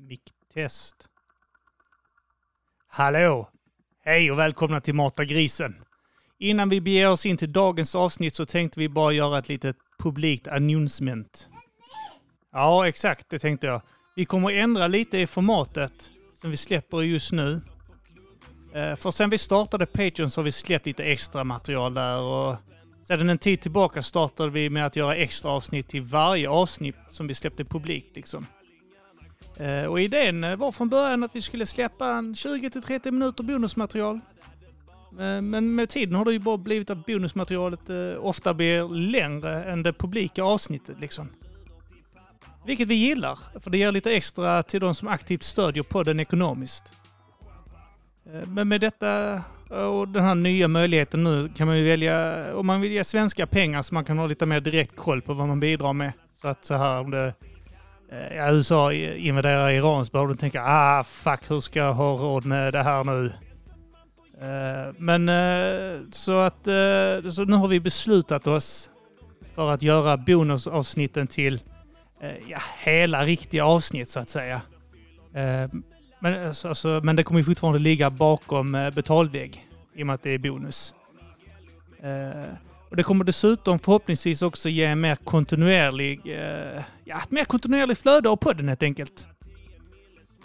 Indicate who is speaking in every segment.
Speaker 1: Micktest. Hallå! Hej och välkomna till Mata grisen. Innan vi beger oss in till dagens avsnitt så tänkte vi bara göra ett litet publikt announcement. Ja, exakt, det tänkte jag. Vi kommer ändra lite i formatet som vi släpper just nu. Eh, För sen vi startade Patreon så har vi släppt lite extra material där och sedan en tid tillbaka startade vi med att göra extra avsnitt till varje avsnitt som vi släppte publikt liksom. Eh, Och idén eh, var från början att vi skulle släppa en 20-30 minuter bonusmaterial. Eh, Men med tiden har det ju bara blivit att bonusmaterialet eh, ofta blir längre än det publika avsnittet liksom. Vilket vi gillar, för det ger lite extra till de som aktivt stödjer podden ekonomiskt. Eh, Men med detta eh, och den här nya möjligheten nu kan man ju välja, om man vill ge svenska pengar så man kan ha lite mer direkt koll på vad man bidrar med. Så att så här om det, eh, ja, USA invaderar Iran så behöver du tänka, ah fuck hur ska jag ha råd med det här nu? Eh, Men eh, så att, eh, så nu har vi beslutat oss för att göra bonusavsnitten till eh, ja, hela riktiga avsnitt så att säga. Eh, men, alltså, alltså, men det kommer ju fortfarande ligga bakom eh, betalvägg i och med att det är bonus. Eh, och det kommer dessutom förhoppningsvis också ge en mer kontinuerlig, eh, ja, ett mer kontinuerligt flöde av podden helt enkelt.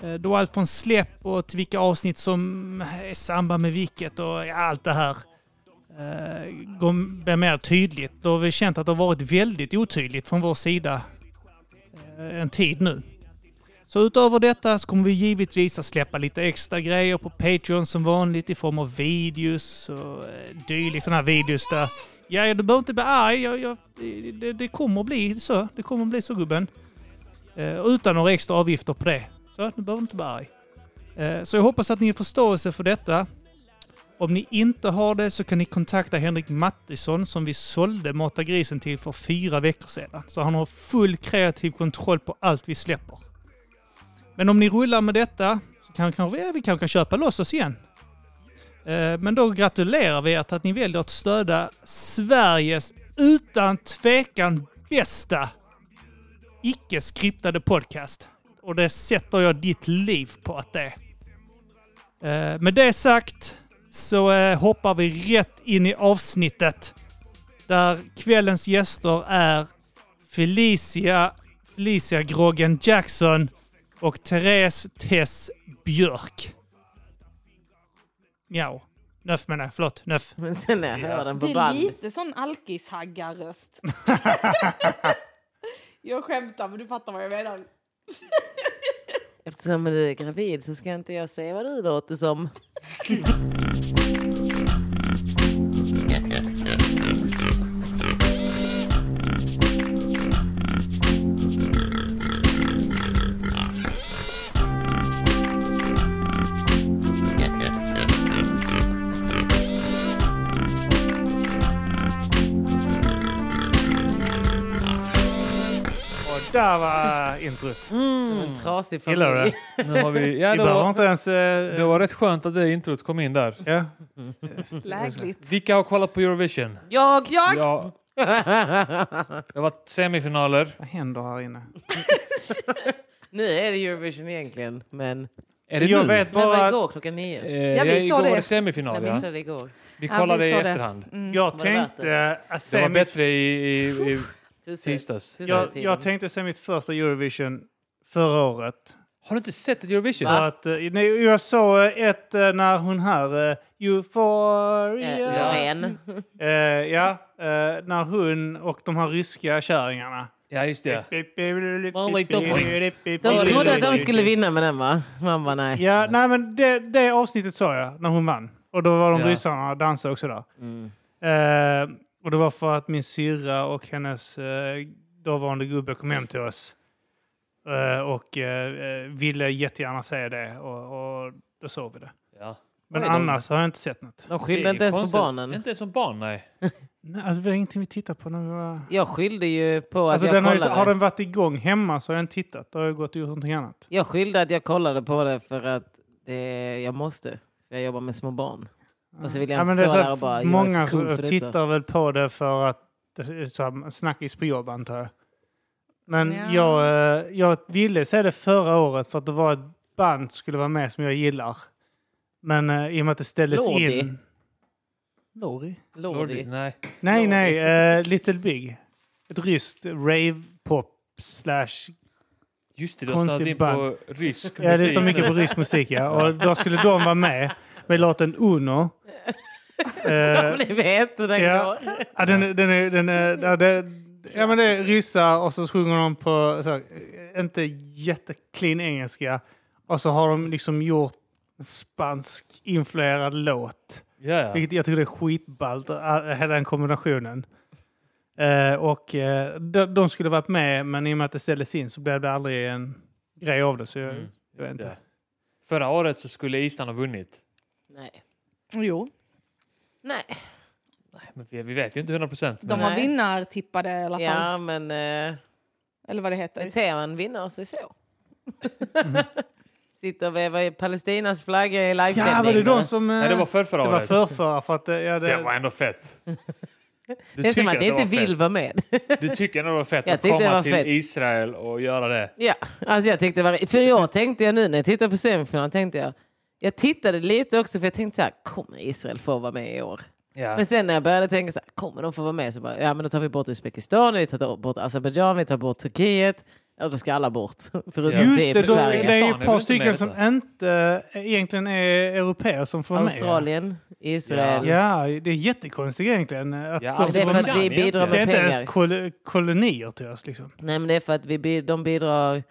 Speaker 1: Eh, då allt från släpp och till vilka avsnitt som är i samband med vilket och ja, allt det här eh, går- blir mer tydligt. Då har vi känt att det har varit väldigt otydligt från vår sida eh, en tid nu. Så utöver detta så kommer vi givetvis att släppa lite extra grejer på Patreon som vanligt i form av videos och eh, dylikt. Sådana här videos där... Ja, ja, du behöver inte bli arg. Jag, jag, det, det kommer bli så. Det kommer bli så, gubben. Eh, utan några extra avgifter på det. Så du behöver inte bli arg. Eh, så jag hoppas att ni har förståelse för detta. Om ni inte har det så kan ni kontakta Henrik Mattisson som vi sålde Mata grisen till för fyra veckor sedan. Så han har full kreativ kontroll på allt vi släpper. Men om ni rullar med detta så kan, kan vi, vi kanske kan köpa loss oss igen. Eh, Men då gratulerar vi er till att ni väljer att stödja Sveriges utan tvekan bästa icke-skriptade podcast. Och det sätter jag ditt liv på att det är. Eh, Med det sagt så eh, hoppar vi rätt in i avsnittet där kvällens gäster är Felicia, Felicia Groggen Jackson och Therese Tess Björk. Mjau. Nöff menar jag. Förlåt. Nöff.
Speaker 2: Men sen när jag hör den på
Speaker 3: Det är
Speaker 2: band.
Speaker 3: lite sån alkishaggarröst. jag skämtar, men du fattar vad jag menar.
Speaker 2: Mm. Eftersom du är gravid så ska inte jag säga vad du låter som.
Speaker 1: Och där var introt.
Speaker 2: En trasig
Speaker 1: Mm. Gillar du
Speaker 2: familj.
Speaker 1: det?
Speaker 4: Nu har vi, ja,
Speaker 1: Vi
Speaker 4: det,
Speaker 1: behöver
Speaker 4: var,
Speaker 1: inte ens... eh,
Speaker 4: det var rätt skönt att det introt kom in där.
Speaker 1: Ja.
Speaker 3: Lägligt.
Speaker 4: Vilka har kollat på Eurovision?
Speaker 2: Jag! Jag!
Speaker 4: Ja. Det har varit semifinaler.
Speaker 1: Vad händer här inne?
Speaker 2: Nu är det Eurovision egentligen, men...
Speaker 4: Är det
Speaker 1: Jag
Speaker 4: nu?
Speaker 1: vet
Speaker 2: Det
Speaker 1: bara
Speaker 2: var
Speaker 1: att
Speaker 2: igår klockan nio.
Speaker 4: Eh,
Speaker 3: Jag
Speaker 4: ja,
Speaker 3: missade
Speaker 4: igår
Speaker 3: det.
Speaker 4: var det semifinal,
Speaker 2: Jag
Speaker 4: ja.
Speaker 2: missade igår.
Speaker 4: Vi
Speaker 3: Ja,
Speaker 4: kollade i
Speaker 3: missade det.
Speaker 4: efterhand.
Speaker 1: jag
Speaker 2: det värt
Speaker 1: tänkte... Att
Speaker 4: Det
Speaker 1: se
Speaker 4: var
Speaker 1: mitt-
Speaker 4: bättre i, i, i
Speaker 2: Tusen.
Speaker 4: tisdags.
Speaker 2: Tusen
Speaker 1: jag,
Speaker 2: till.
Speaker 1: jag tänkte se mitt första Eurovision förra året.
Speaker 4: Har du inte sett ett Eurovision?
Speaker 1: För att, eh, nej, jag såg eh, ett eh, när hon här... eh,
Speaker 2: Eh,
Speaker 1: Euphoria.
Speaker 2: Loreen.
Speaker 1: Eh, ja, eh, när hon och de här ryska kärringarna.
Speaker 4: Ja, just det.
Speaker 2: De
Speaker 4: Oj,
Speaker 2: trodde
Speaker 4: oj,
Speaker 2: att de
Speaker 4: oj.
Speaker 2: skulle vinna med den, va? Man bara nej.
Speaker 1: Ja, nej men det, det avsnittet sa jag när hon vann. Och då var de
Speaker 4: Ja.
Speaker 1: ryssarna och dansade också där.
Speaker 2: Mm.
Speaker 1: Eh, och det var för att min syrra och hennes eh, dåvarande gubbe kom hem till oss. Eh, och eh, eh, ville jättegärna se det och, och då såg vi det.
Speaker 4: Ja.
Speaker 1: Men
Speaker 2: Oj då.
Speaker 1: annars har jag inte sett något.
Speaker 2: De
Speaker 4: Det
Speaker 2: skyllde
Speaker 4: är
Speaker 2: inte ens på
Speaker 4: konstigt.
Speaker 2: barnen.
Speaker 4: Inte ens som barn, nej.
Speaker 1: Nej, alltså, det var ingenting vi tittade på när vi var...
Speaker 2: Jag skyllde ju på att
Speaker 1: Alltså,
Speaker 2: jag
Speaker 1: den har, ju,
Speaker 2: kollade.
Speaker 1: har den varit igång hemma så har jag inte tittat. Då har jag gått och gjort någonting annat.
Speaker 2: Jag skyllde att jag kollade på det för att det, jag måste. För jag jobbar med små barn. Och så vill jag
Speaker 1: Ja,
Speaker 2: inte
Speaker 1: men det är
Speaker 2: stå
Speaker 1: så
Speaker 2: där
Speaker 1: här,
Speaker 2: och bara... jag
Speaker 1: många
Speaker 2: är för cool
Speaker 1: som
Speaker 2: för detta.
Speaker 1: eh, tittar väl på det för att det är så här, snackis på jobb antar jag. Men
Speaker 3: Ja.
Speaker 1: jag, eh, jag ville se det förra året för att det var ett band som skulle vara med som jag gillar. Men eh, i och med att det ställdes
Speaker 2: Lordi.
Speaker 1: in... Lordi?
Speaker 4: Lordi.
Speaker 2: Lordi.
Speaker 4: Nej.
Speaker 1: Nej,
Speaker 2: Lordi.
Speaker 1: nej. eh, Little Big. Ett ryskt rave-pop slash
Speaker 4: Just det, du har
Speaker 1: Konstigt
Speaker 4: satt in på
Speaker 1: band.
Speaker 4: rysk
Speaker 1: Ja, det
Speaker 4: musik.
Speaker 1: står mycket på rysk musik, ja. Och då skulle de vara med med låten Uno. Eh,
Speaker 2: Om ni vet hur den
Speaker 1: ja.
Speaker 2: går.
Speaker 1: ja, den, är- den är... Den är ja, det, ja, men det är ryssar och så sjunger de på så, här, eh, inte jätteklin engelska. Och så har de liksom gjort en spansk-influerad låt.
Speaker 4: Ja, ja.
Speaker 1: Vilket jag tycker det är skitballt, eh, hela den kombinationen. Eh, och eh, de, de skulle varit med, men i och med att det ställdes in så blev det aldrig en grej av det. Så jag,
Speaker 4: Mm,
Speaker 1: jag vet inte.
Speaker 4: det. Förra året så skulle Island ha vunnit.
Speaker 2: Nej.
Speaker 3: Jo.
Speaker 2: Nej.
Speaker 4: Nej, men vi, vi vet ju inte 100 procent.
Speaker 3: De var
Speaker 2: Nej.
Speaker 3: vinnartippade i alla fall.
Speaker 2: Ja, men eh,
Speaker 3: Eller vad det heter.
Speaker 2: beter man vinnare sig så? Sitter och vevar i Palestinas flagga i livesändning.
Speaker 1: Mm. Ja, var det de som... eh,
Speaker 4: Nej, det var för förra
Speaker 1: Det var
Speaker 4: året.
Speaker 1: förrförra för att eh, ja,
Speaker 4: Det var
Speaker 1: det,
Speaker 4: ändå fett. Du
Speaker 2: Det är som
Speaker 4: tycker
Speaker 2: att jag inte
Speaker 4: var fett.
Speaker 2: vill vara med.
Speaker 4: Du tycker ändå det var fett
Speaker 2: Jag
Speaker 4: att
Speaker 2: tyckte det
Speaker 4: komma
Speaker 2: var
Speaker 4: till
Speaker 2: fett.
Speaker 4: Israel och göra det.
Speaker 2: Ja, alltså jag tänkte, var- för jag tänkte jag nu när jag tittade på semifinalen, tänkte jag, jag tittade lite också för jag tänkte så här, kommer Israel få vara med i år?
Speaker 4: Ja.
Speaker 2: Men sen när jag började tänka så här, kommer de få vara med? Så bara, ja men då tar vi bort Uzbekistan, vi tar bort Azerbaijan, vi tar bort Turkiet. Ja, då ska alla bort. Förutom
Speaker 1: just
Speaker 2: typ
Speaker 1: det, då,
Speaker 2: Sverige.
Speaker 1: det är ju
Speaker 4: Stan är
Speaker 1: ett
Speaker 4: väl
Speaker 1: par
Speaker 4: inte
Speaker 1: stycken
Speaker 4: med,
Speaker 1: som
Speaker 4: detta?
Speaker 1: inte eh, egentligen är europeer som får vara med.
Speaker 2: Australien, Israel.
Speaker 1: Ja, det är jättekonstigt egentligen. eh, Att
Speaker 4: Ja,
Speaker 1: de
Speaker 2: alltså, Det
Speaker 1: får
Speaker 2: är
Speaker 1: vara
Speaker 2: för
Speaker 1: med.
Speaker 2: att vi bidrar
Speaker 1: det är
Speaker 2: med
Speaker 1: inte
Speaker 2: pengar.
Speaker 1: ens kol kolonier till oss. Liksom.
Speaker 2: Nej, men det är för att vi, bi- de bidrar.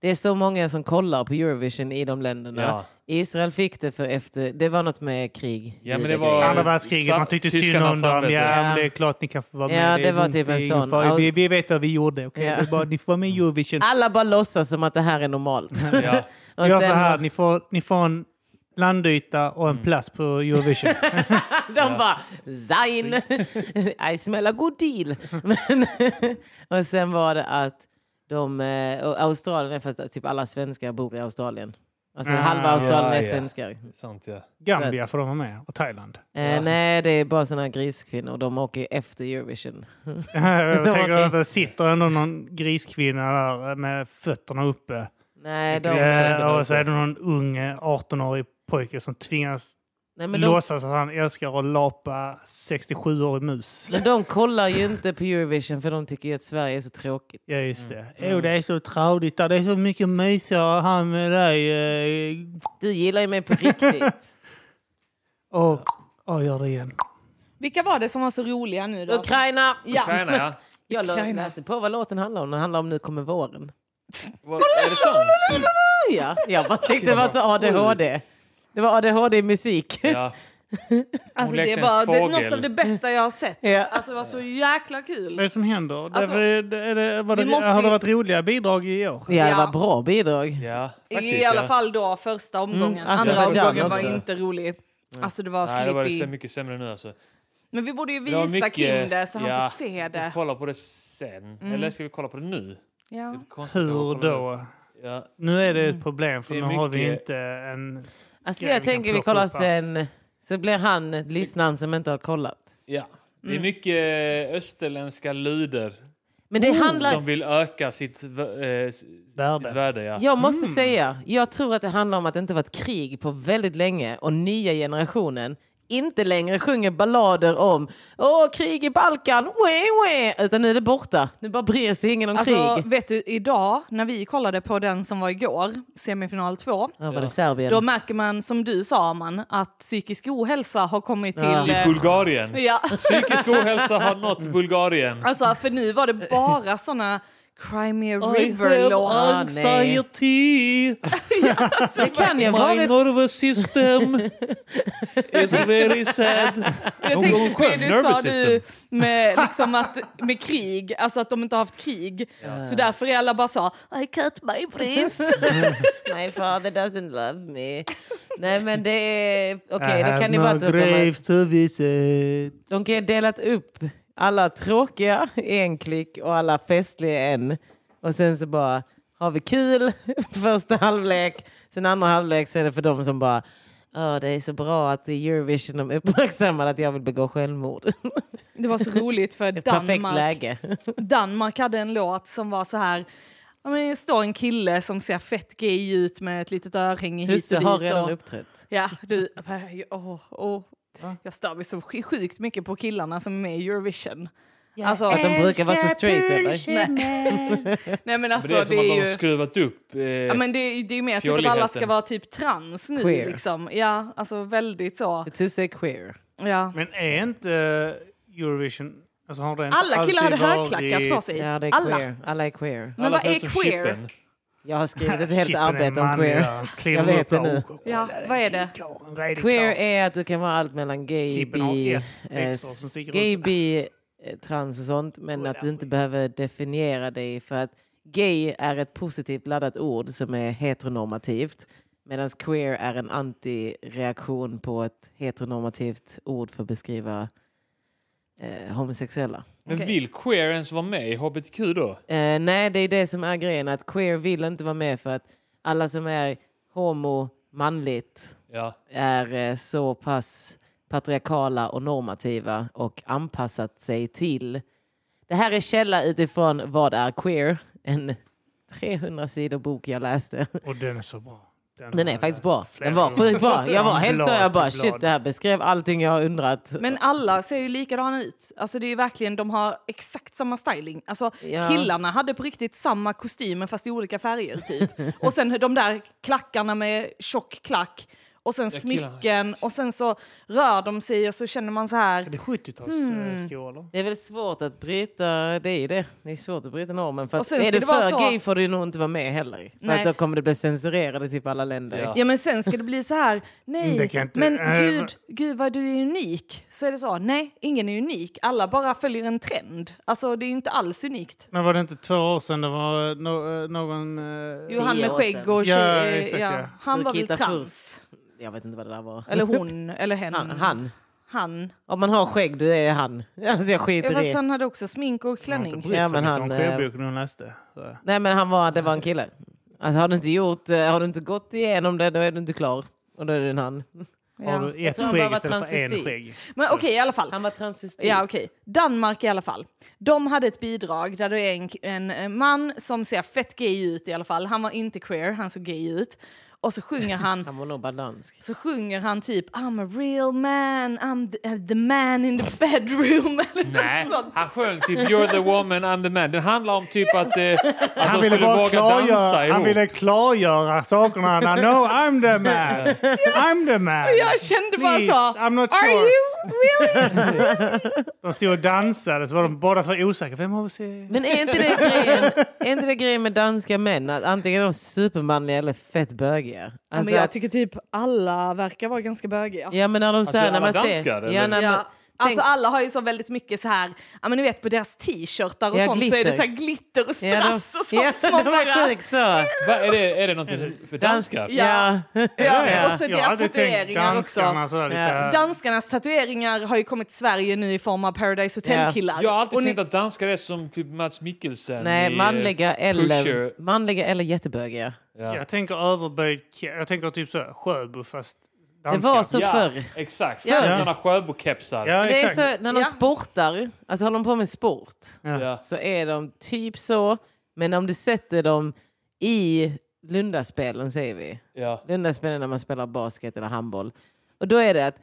Speaker 2: Det är så många som kollar på Eurovision i de länderna.
Speaker 4: Ja.
Speaker 2: Israel fick det för efter, det var något med krig.
Speaker 4: Ja, men
Speaker 2: i
Speaker 4: det var-
Speaker 2: grejen.
Speaker 1: Andra världskriget,
Speaker 4: sam-
Speaker 1: man tyckte synd
Speaker 4: tyskarnas
Speaker 1: om dem.
Speaker 4: samvete.
Speaker 2: Eh, Ja.
Speaker 1: Ja, men det är klart ni kan få vara med.
Speaker 2: Ja,
Speaker 1: är
Speaker 2: det var
Speaker 1: lugnt,
Speaker 2: typ en
Speaker 1: det är ingen
Speaker 2: sån.
Speaker 1: fara. Vi,
Speaker 2: Aus-
Speaker 1: vi vet vad vi gjorde. Okay?
Speaker 2: Ja.
Speaker 1: Det är bara, ni får vara med i Eurovision.
Speaker 2: Alla bara låtsas som att det här är normalt.
Speaker 4: Ja.
Speaker 2: Och
Speaker 1: Gör
Speaker 2: sen- Mm.
Speaker 1: så här, ni får, ni får en landyta och en plats på Eurovision.
Speaker 2: De bara Zain, I smell a good deal. Men, och sen var det att de, eh, och Australien är för att typ alla svenskar bor i Australien. Alltså
Speaker 1: Ah,
Speaker 2: halva Australien
Speaker 4: ja,
Speaker 2: är
Speaker 4: ja.
Speaker 2: svenskar.
Speaker 4: Sant, ja.
Speaker 1: Gambia får de vara med, och Thailand.
Speaker 2: Eh, nej, det är bara sådana griskvinnor. De åker ju efter Eurovision.
Speaker 1: Jag tänker
Speaker 2: Okej.
Speaker 1: att det sitter ändå någon griskvinna där med fötterna uppe.
Speaker 2: Nej, de,
Speaker 1: Eh,
Speaker 4: där
Speaker 1: och så är det någon ung eh, 18-årig pojke som tvingas
Speaker 2: nej, men de,
Speaker 1: låtsas att han älskar att lapa 67-årig mus.
Speaker 2: men de kollar ju inte på Eurovision för de tycker ju att Sverige är så tråkigt.
Speaker 1: Ja, just det. Jo, det är så tradigt där. Det är så mycket mysigare här med dig. eh.
Speaker 2: Du gillar ju mig på riktigt.
Speaker 1: Åh, åh, gör det igen.
Speaker 3: Vilka var det som var så roliga nu då?
Speaker 2: Ukraina!
Speaker 3: Ja.
Speaker 4: Ukraina, ja.
Speaker 2: Jag lade
Speaker 3: Ukraina.
Speaker 2: inte på vad låten handlar om. Den handlar om Nu kommer våren.
Speaker 4: Vad- Är det sant?
Speaker 2: Ja, jag bara tyckte det var så ADHD. Det var ADHD-musik.
Speaker 4: Ja.
Speaker 3: Alltså,
Speaker 4: lekte
Speaker 3: det
Speaker 4: en
Speaker 3: var det är
Speaker 4: fågel. Mm.
Speaker 3: något av det bästa jag har sett.
Speaker 2: Ja.
Speaker 3: Alltså, det var så jäkla kul.
Speaker 1: Vad är det som händer?
Speaker 3: Alltså,
Speaker 1: det, är det, är det, var det,
Speaker 3: vi måste
Speaker 1: har det
Speaker 3: ju-
Speaker 1: varit roliga bidrag i år?
Speaker 2: Ja, det
Speaker 3: Ja.
Speaker 2: var bra bidrag.
Speaker 4: ja faktiskt,
Speaker 3: I alla
Speaker 4: ja.
Speaker 3: fall då första omgången.
Speaker 2: Mm,
Speaker 3: Andra
Speaker 2: Azerbaijan
Speaker 3: omgången var
Speaker 2: också. Mm.
Speaker 3: inte rolig. Alltså det var
Speaker 4: Nej, det var
Speaker 3: sleepy.
Speaker 4: det så mycket sämre nu alltså.
Speaker 3: Men vi borde ju
Speaker 4: Det var
Speaker 3: visa
Speaker 4: mycket-
Speaker 3: Kim det så han
Speaker 4: ja.
Speaker 3: får se
Speaker 4: Vi får
Speaker 3: det.
Speaker 4: kolla på det sen. Eller ska vi kolla på det nu? Det
Speaker 3: Ja.
Speaker 4: är konstigt att
Speaker 1: Hur
Speaker 4: kolla på det.
Speaker 1: då?
Speaker 4: Ja.
Speaker 1: Nu är det ett problem för
Speaker 4: Det
Speaker 1: nu
Speaker 4: är
Speaker 1: har vi
Speaker 4: mycket-
Speaker 1: inte en...
Speaker 2: Alltså,
Speaker 1: Okej,
Speaker 2: jag
Speaker 1: vi kan
Speaker 2: tänker vi
Speaker 1: plocka
Speaker 2: kollar
Speaker 1: upp allt.
Speaker 2: sen. Så blir han lyssnaren som inte har kollat.
Speaker 4: ja. Det är mycket eh, österländska lyder
Speaker 2: Men det handlar...
Speaker 4: som vill öka sitt, v- eh, s-
Speaker 1: Värde.
Speaker 4: sitt värde ja.
Speaker 2: Jag måste säga, jag tror att det handlar om att det inte varit krig på väldigt länge och nya generationen inte längre sjunger ballader om Åh, krig i Balkan, wee, wee. utan nu är det borta. Nu bara bryr sig ingen om
Speaker 3: Alltså
Speaker 2: krig.
Speaker 3: vet du, idag när vi kollade på den som var igår, semifinal 2,
Speaker 2: Ja, var det Serbien?
Speaker 3: då märker man som du sa man att psykisk ohälsa har kommit till...
Speaker 2: Ja.
Speaker 3: eh,
Speaker 4: Bulgarien.
Speaker 3: Ja.
Speaker 4: Psykisk ohälsa har nått Bulgarien.
Speaker 3: Alltså för nu var det bara såna Crimea
Speaker 2: have
Speaker 3: River-låtar.
Speaker 2: Ah,
Speaker 4: Alltså,
Speaker 2: nej. Det kan ju ha varit
Speaker 4: nervous system is very sad.
Speaker 3: Jag
Speaker 4: Hon-
Speaker 3: tänkte på
Speaker 4: hon sjöng
Speaker 3: det du
Speaker 4: Nervous
Speaker 3: sa du med, liksom att, med krig, alltså att de inte har haft krig. Så därför är alla bara så, I cut my wrist.
Speaker 2: My father doesn't love me. Nej men det är... Okej, det kan ju
Speaker 1: I
Speaker 2: vara
Speaker 1: have
Speaker 2: att
Speaker 1: no
Speaker 2: de, har-
Speaker 1: graves to visit.
Speaker 2: de kan ju ha delat upp alla tråkiga i en klick och alla festliga i en. Och sen så bara har vi kul första halvlek. Sen andra halvlek så är det för de som bara Åh, det är så bra att i Eurovision de uppmärksammar att jag vill begå självmord.
Speaker 3: Det var så roligt för
Speaker 2: Ett perfekt
Speaker 3: Danmark.
Speaker 2: läge.
Speaker 3: Danmark hade en låt som var så här. Ja, men det står en kille som ser fett gay ut med ett litet örhänge hit
Speaker 2: Tusse
Speaker 3: och dit.
Speaker 2: har redan
Speaker 3: och,
Speaker 2: uppträtt.
Speaker 3: Ja, du. Åh, åh. Jag stör mig så sj- sjukt mycket på killarna som är med i Eurovision. Alltså,
Speaker 2: Att de brukar vara så straight eller?
Speaker 3: nej men alltså
Speaker 4: Men
Speaker 3: det
Speaker 4: det är som att
Speaker 3: är
Speaker 4: de har
Speaker 3: ju...
Speaker 4: skruvat upp. Eh,
Speaker 3: Ja, men det, är ju- det är ju mer typ att alla
Speaker 4: Fjolligheten.
Speaker 3: ska vara typ trans nu.
Speaker 2: Queer.
Speaker 3: Liksom. Ja, alltså väldigt så.
Speaker 2: Tusse är queer.
Speaker 3: Ja.
Speaker 1: Men är inte eh, Eurovision... Alltså har det inte
Speaker 3: Alla killar hade
Speaker 1: alltid
Speaker 3: högklackat
Speaker 1: varit-
Speaker 3: på sig.
Speaker 2: Ja, det är
Speaker 3: alla.
Speaker 2: queer. Alla är queer.
Speaker 3: Men
Speaker 4: alla
Speaker 3: vad är
Speaker 4: förutom
Speaker 3: queer?
Speaker 4: Chippen.
Speaker 2: Jag har skrivit ett helt
Speaker 1: Chippen är
Speaker 2: arbete om
Speaker 1: manlig,
Speaker 2: queer.
Speaker 1: ja. Kliver
Speaker 2: Jag vet
Speaker 1: upp
Speaker 2: det
Speaker 1: och-
Speaker 2: nu.
Speaker 1: oh,
Speaker 3: Ja,
Speaker 1: kolla,
Speaker 3: vad är det?
Speaker 1: killkarl, en redig
Speaker 2: Queer
Speaker 1: karl.
Speaker 2: är att du kan vara allt mellan gay,
Speaker 1: Chippen har
Speaker 2: bi,
Speaker 1: ett
Speaker 2: eh,
Speaker 1: extra som sticker ut.
Speaker 2: gay, bi, eh, trans och sånt. Men att du inte behöver definiera dig för att gay är ett positivt laddat ord som är heteronormativt. Medan queer är en antireaktion på ett heteronormativt ord för att beskriva eh, homosexuella.
Speaker 4: Men
Speaker 3: Okej.
Speaker 4: vill queer ens vara med i HBTQ då?
Speaker 2: Eh, nej, det är det som är grejen. Att queer vill inte vara med för att alla som är homo, manligt,
Speaker 4: Ja.
Speaker 2: är eh, så pass patriarkala och normativa och anpassat sig till. Det här är källa utifrån Vad är queer? En 300 sidor bok jag läste.
Speaker 1: Och den är så bra.
Speaker 2: Den
Speaker 1: har
Speaker 2: är
Speaker 1: jag
Speaker 2: faktiskt
Speaker 1: läst
Speaker 2: bra.
Speaker 1: flera
Speaker 2: Den var
Speaker 1: gånger.
Speaker 2: sjukt bra. Jag var
Speaker 1: Från
Speaker 2: helt så,
Speaker 1: blad
Speaker 2: jag bara
Speaker 1: till
Speaker 2: shit,
Speaker 1: blad.
Speaker 2: det här beskrev allting jag har undrat.
Speaker 3: Men alla ser ju likadana ut. Alltså det är ju verkligen, de har exakt samma styling. Alltså
Speaker 2: Ja.
Speaker 3: killarna hade på riktigt samma kostymer fast i olika färger typ. och sen de där klackarna med tjock klack. Och sen
Speaker 4: killarna.
Speaker 3: smycken och sen så rör de sig och så känner man så
Speaker 1: Är
Speaker 3: här.
Speaker 1: det 70-talsskor eller?
Speaker 2: Det är väl svårt att bryta, det är ju det. Det är svårt att bryta normen. För
Speaker 3: Och
Speaker 2: att,
Speaker 3: sen
Speaker 2: är
Speaker 3: ska
Speaker 2: du
Speaker 3: det vara
Speaker 2: för
Speaker 3: så-
Speaker 2: gay får du nog inte vara med heller. För
Speaker 3: Nej.
Speaker 2: att då kommer det bli censurerade typ alla länder.
Speaker 4: Ja.
Speaker 3: Ja men sen ska det bli så här, nej,
Speaker 1: Det kan inte-
Speaker 3: men
Speaker 1: eh,
Speaker 3: gud, gud vad du är unik. Så är det så, nej, ingen är unik. Alla bara följer en trend. Alltså det är ju inte alls unikt.
Speaker 1: Men var det inte två år sedan det var eh, no, eh, någon... eh,
Speaker 3: Jo, han med
Speaker 2: år
Speaker 3: skägg
Speaker 2: sedan.
Speaker 3: och tjej,
Speaker 1: Ja,
Speaker 3: eh,
Speaker 1: exakt, ja.
Speaker 3: han var väl
Speaker 2: Birgitta
Speaker 3: trans.
Speaker 2: Furst. Jag vet inte vad det där var.
Speaker 3: Eller hon, eller hen.
Speaker 2: Han. han.
Speaker 3: Han.
Speaker 2: Om man har skägg, du är han. Alltså jag
Speaker 3: Ja,
Speaker 2: skiter
Speaker 3: fast
Speaker 2: i.
Speaker 3: han hade också smink och
Speaker 1: Han har inte
Speaker 3: klänning.
Speaker 1: brytt
Speaker 2: Ja,
Speaker 1: sig
Speaker 2: men
Speaker 1: mycket
Speaker 2: han,
Speaker 1: om
Speaker 2: eh,
Speaker 1: skivboken hon läste. Så.
Speaker 2: Nej men han var, det var en kille. Alltså har du inte gjort, eh, har du inte gått igenom det, då är du inte klar. Och då är du en han.
Speaker 1: Har
Speaker 3: Ja.
Speaker 1: du ett
Speaker 2: tror han
Speaker 1: skägg
Speaker 2: bara var
Speaker 1: istället för en
Speaker 2: transvestit.
Speaker 1: skägg?
Speaker 3: Men okej, i alla fall.
Speaker 2: Han var transvestit.
Speaker 3: Ja, okej. Danmark i alla fall. De hade ett bidrag där det är en, en eh, man som ser fett gay ut i alla fall. Han var inte queer, han såg gay ut. Och så sjunger han,
Speaker 2: Han var nog bara dansk.
Speaker 3: så sjunger han typ I'm a real man, I'm the, eh, the man in the bedroom. Eller
Speaker 4: Nej,
Speaker 3: något sånt.
Speaker 4: han sjöng typ You're the woman, I'm the man. Den handlar om typ att, eh, att
Speaker 1: Han
Speaker 4: de
Speaker 1: ville
Speaker 4: skulle
Speaker 1: bara
Speaker 4: våga dansa
Speaker 1: klargöra, han
Speaker 4: ihop.
Speaker 1: ville klargöra sakerna. Han, no, I'm the man! I'm the man!
Speaker 3: Jag kände bara
Speaker 1: Please,
Speaker 3: så,
Speaker 1: I'm not
Speaker 3: are
Speaker 1: sure.
Speaker 3: you really?
Speaker 1: De stod och dansade så var de båda så osäkra. Vem av oss är...
Speaker 2: Men är inte det grejen, är inte det grejen med danska män? Att antingen är de supermanliga eller fett bögiga. Alltså att-
Speaker 3: tycker typ alla verkar vara ganska bögiga.
Speaker 2: Ja men när de säger, när
Speaker 4: alla
Speaker 2: man ser...
Speaker 4: danskar,
Speaker 2: Ja, när
Speaker 4: eller?
Speaker 2: man,
Speaker 3: Ja.
Speaker 2: tänk-
Speaker 3: Alltså alla har ju så väldigt mycket så här, ja men ni vet på deras t-shirtar och
Speaker 2: Ja,
Speaker 3: sånt så är
Speaker 2: glitter.
Speaker 3: det så här glitter och
Speaker 2: ja, de-
Speaker 3: strass och sånt.
Speaker 2: Ja,
Speaker 3: som man
Speaker 2: det
Speaker 3: bara-
Speaker 2: var sjukt så.
Speaker 4: Va, är, det, är det någonting för danskar?
Speaker 2: Ja.
Speaker 3: ja,
Speaker 1: Ja,
Speaker 3: Och så
Speaker 1: jag har
Speaker 3: deras
Speaker 1: alltid tänkt
Speaker 3: tatueringar
Speaker 1: danskarna
Speaker 3: också.
Speaker 1: sådär lite...
Speaker 2: Ja.
Speaker 3: Danskarnas tatueringar har ju kommit till Sverige nu i form av Paradise Hotel-killar.
Speaker 4: Jag har alltid
Speaker 3: Och ni-
Speaker 4: tänkt att danskar är som typ Mats Mikkelsen
Speaker 2: Nej,
Speaker 4: i, eh,
Speaker 2: manliga eller,
Speaker 4: Pusher.
Speaker 2: manliga eller jättebögiga.
Speaker 4: Ja.
Speaker 1: Jag tänker överböjd... ke- Jag tänker typ så Sjöbo fast
Speaker 2: Det
Speaker 1: danska.
Speaker 2: var så
Speaker 4: ja,
Speaker 2: förr.
Speaker 4: Exakt.
Speaker 2: Ja.
Speaker 4: Sådana Sjöbokepsar.
Speaker 1: Ja,
Speaker 2: Det är
Speaker 1: exakt.
Speaker 2: så, när de
Speaker 3: Ja.
Speaker 2: sportar, alltså håller de på med sport,
Speaker 4: Ja.
Speaker 2: så är de typ så. Men om du sätter dem i Lundaspelen, säger vi.
Speaker 4: Ja.
Speaker 2: Lundaspelen när man spelar basket eller handboll. Och då är det att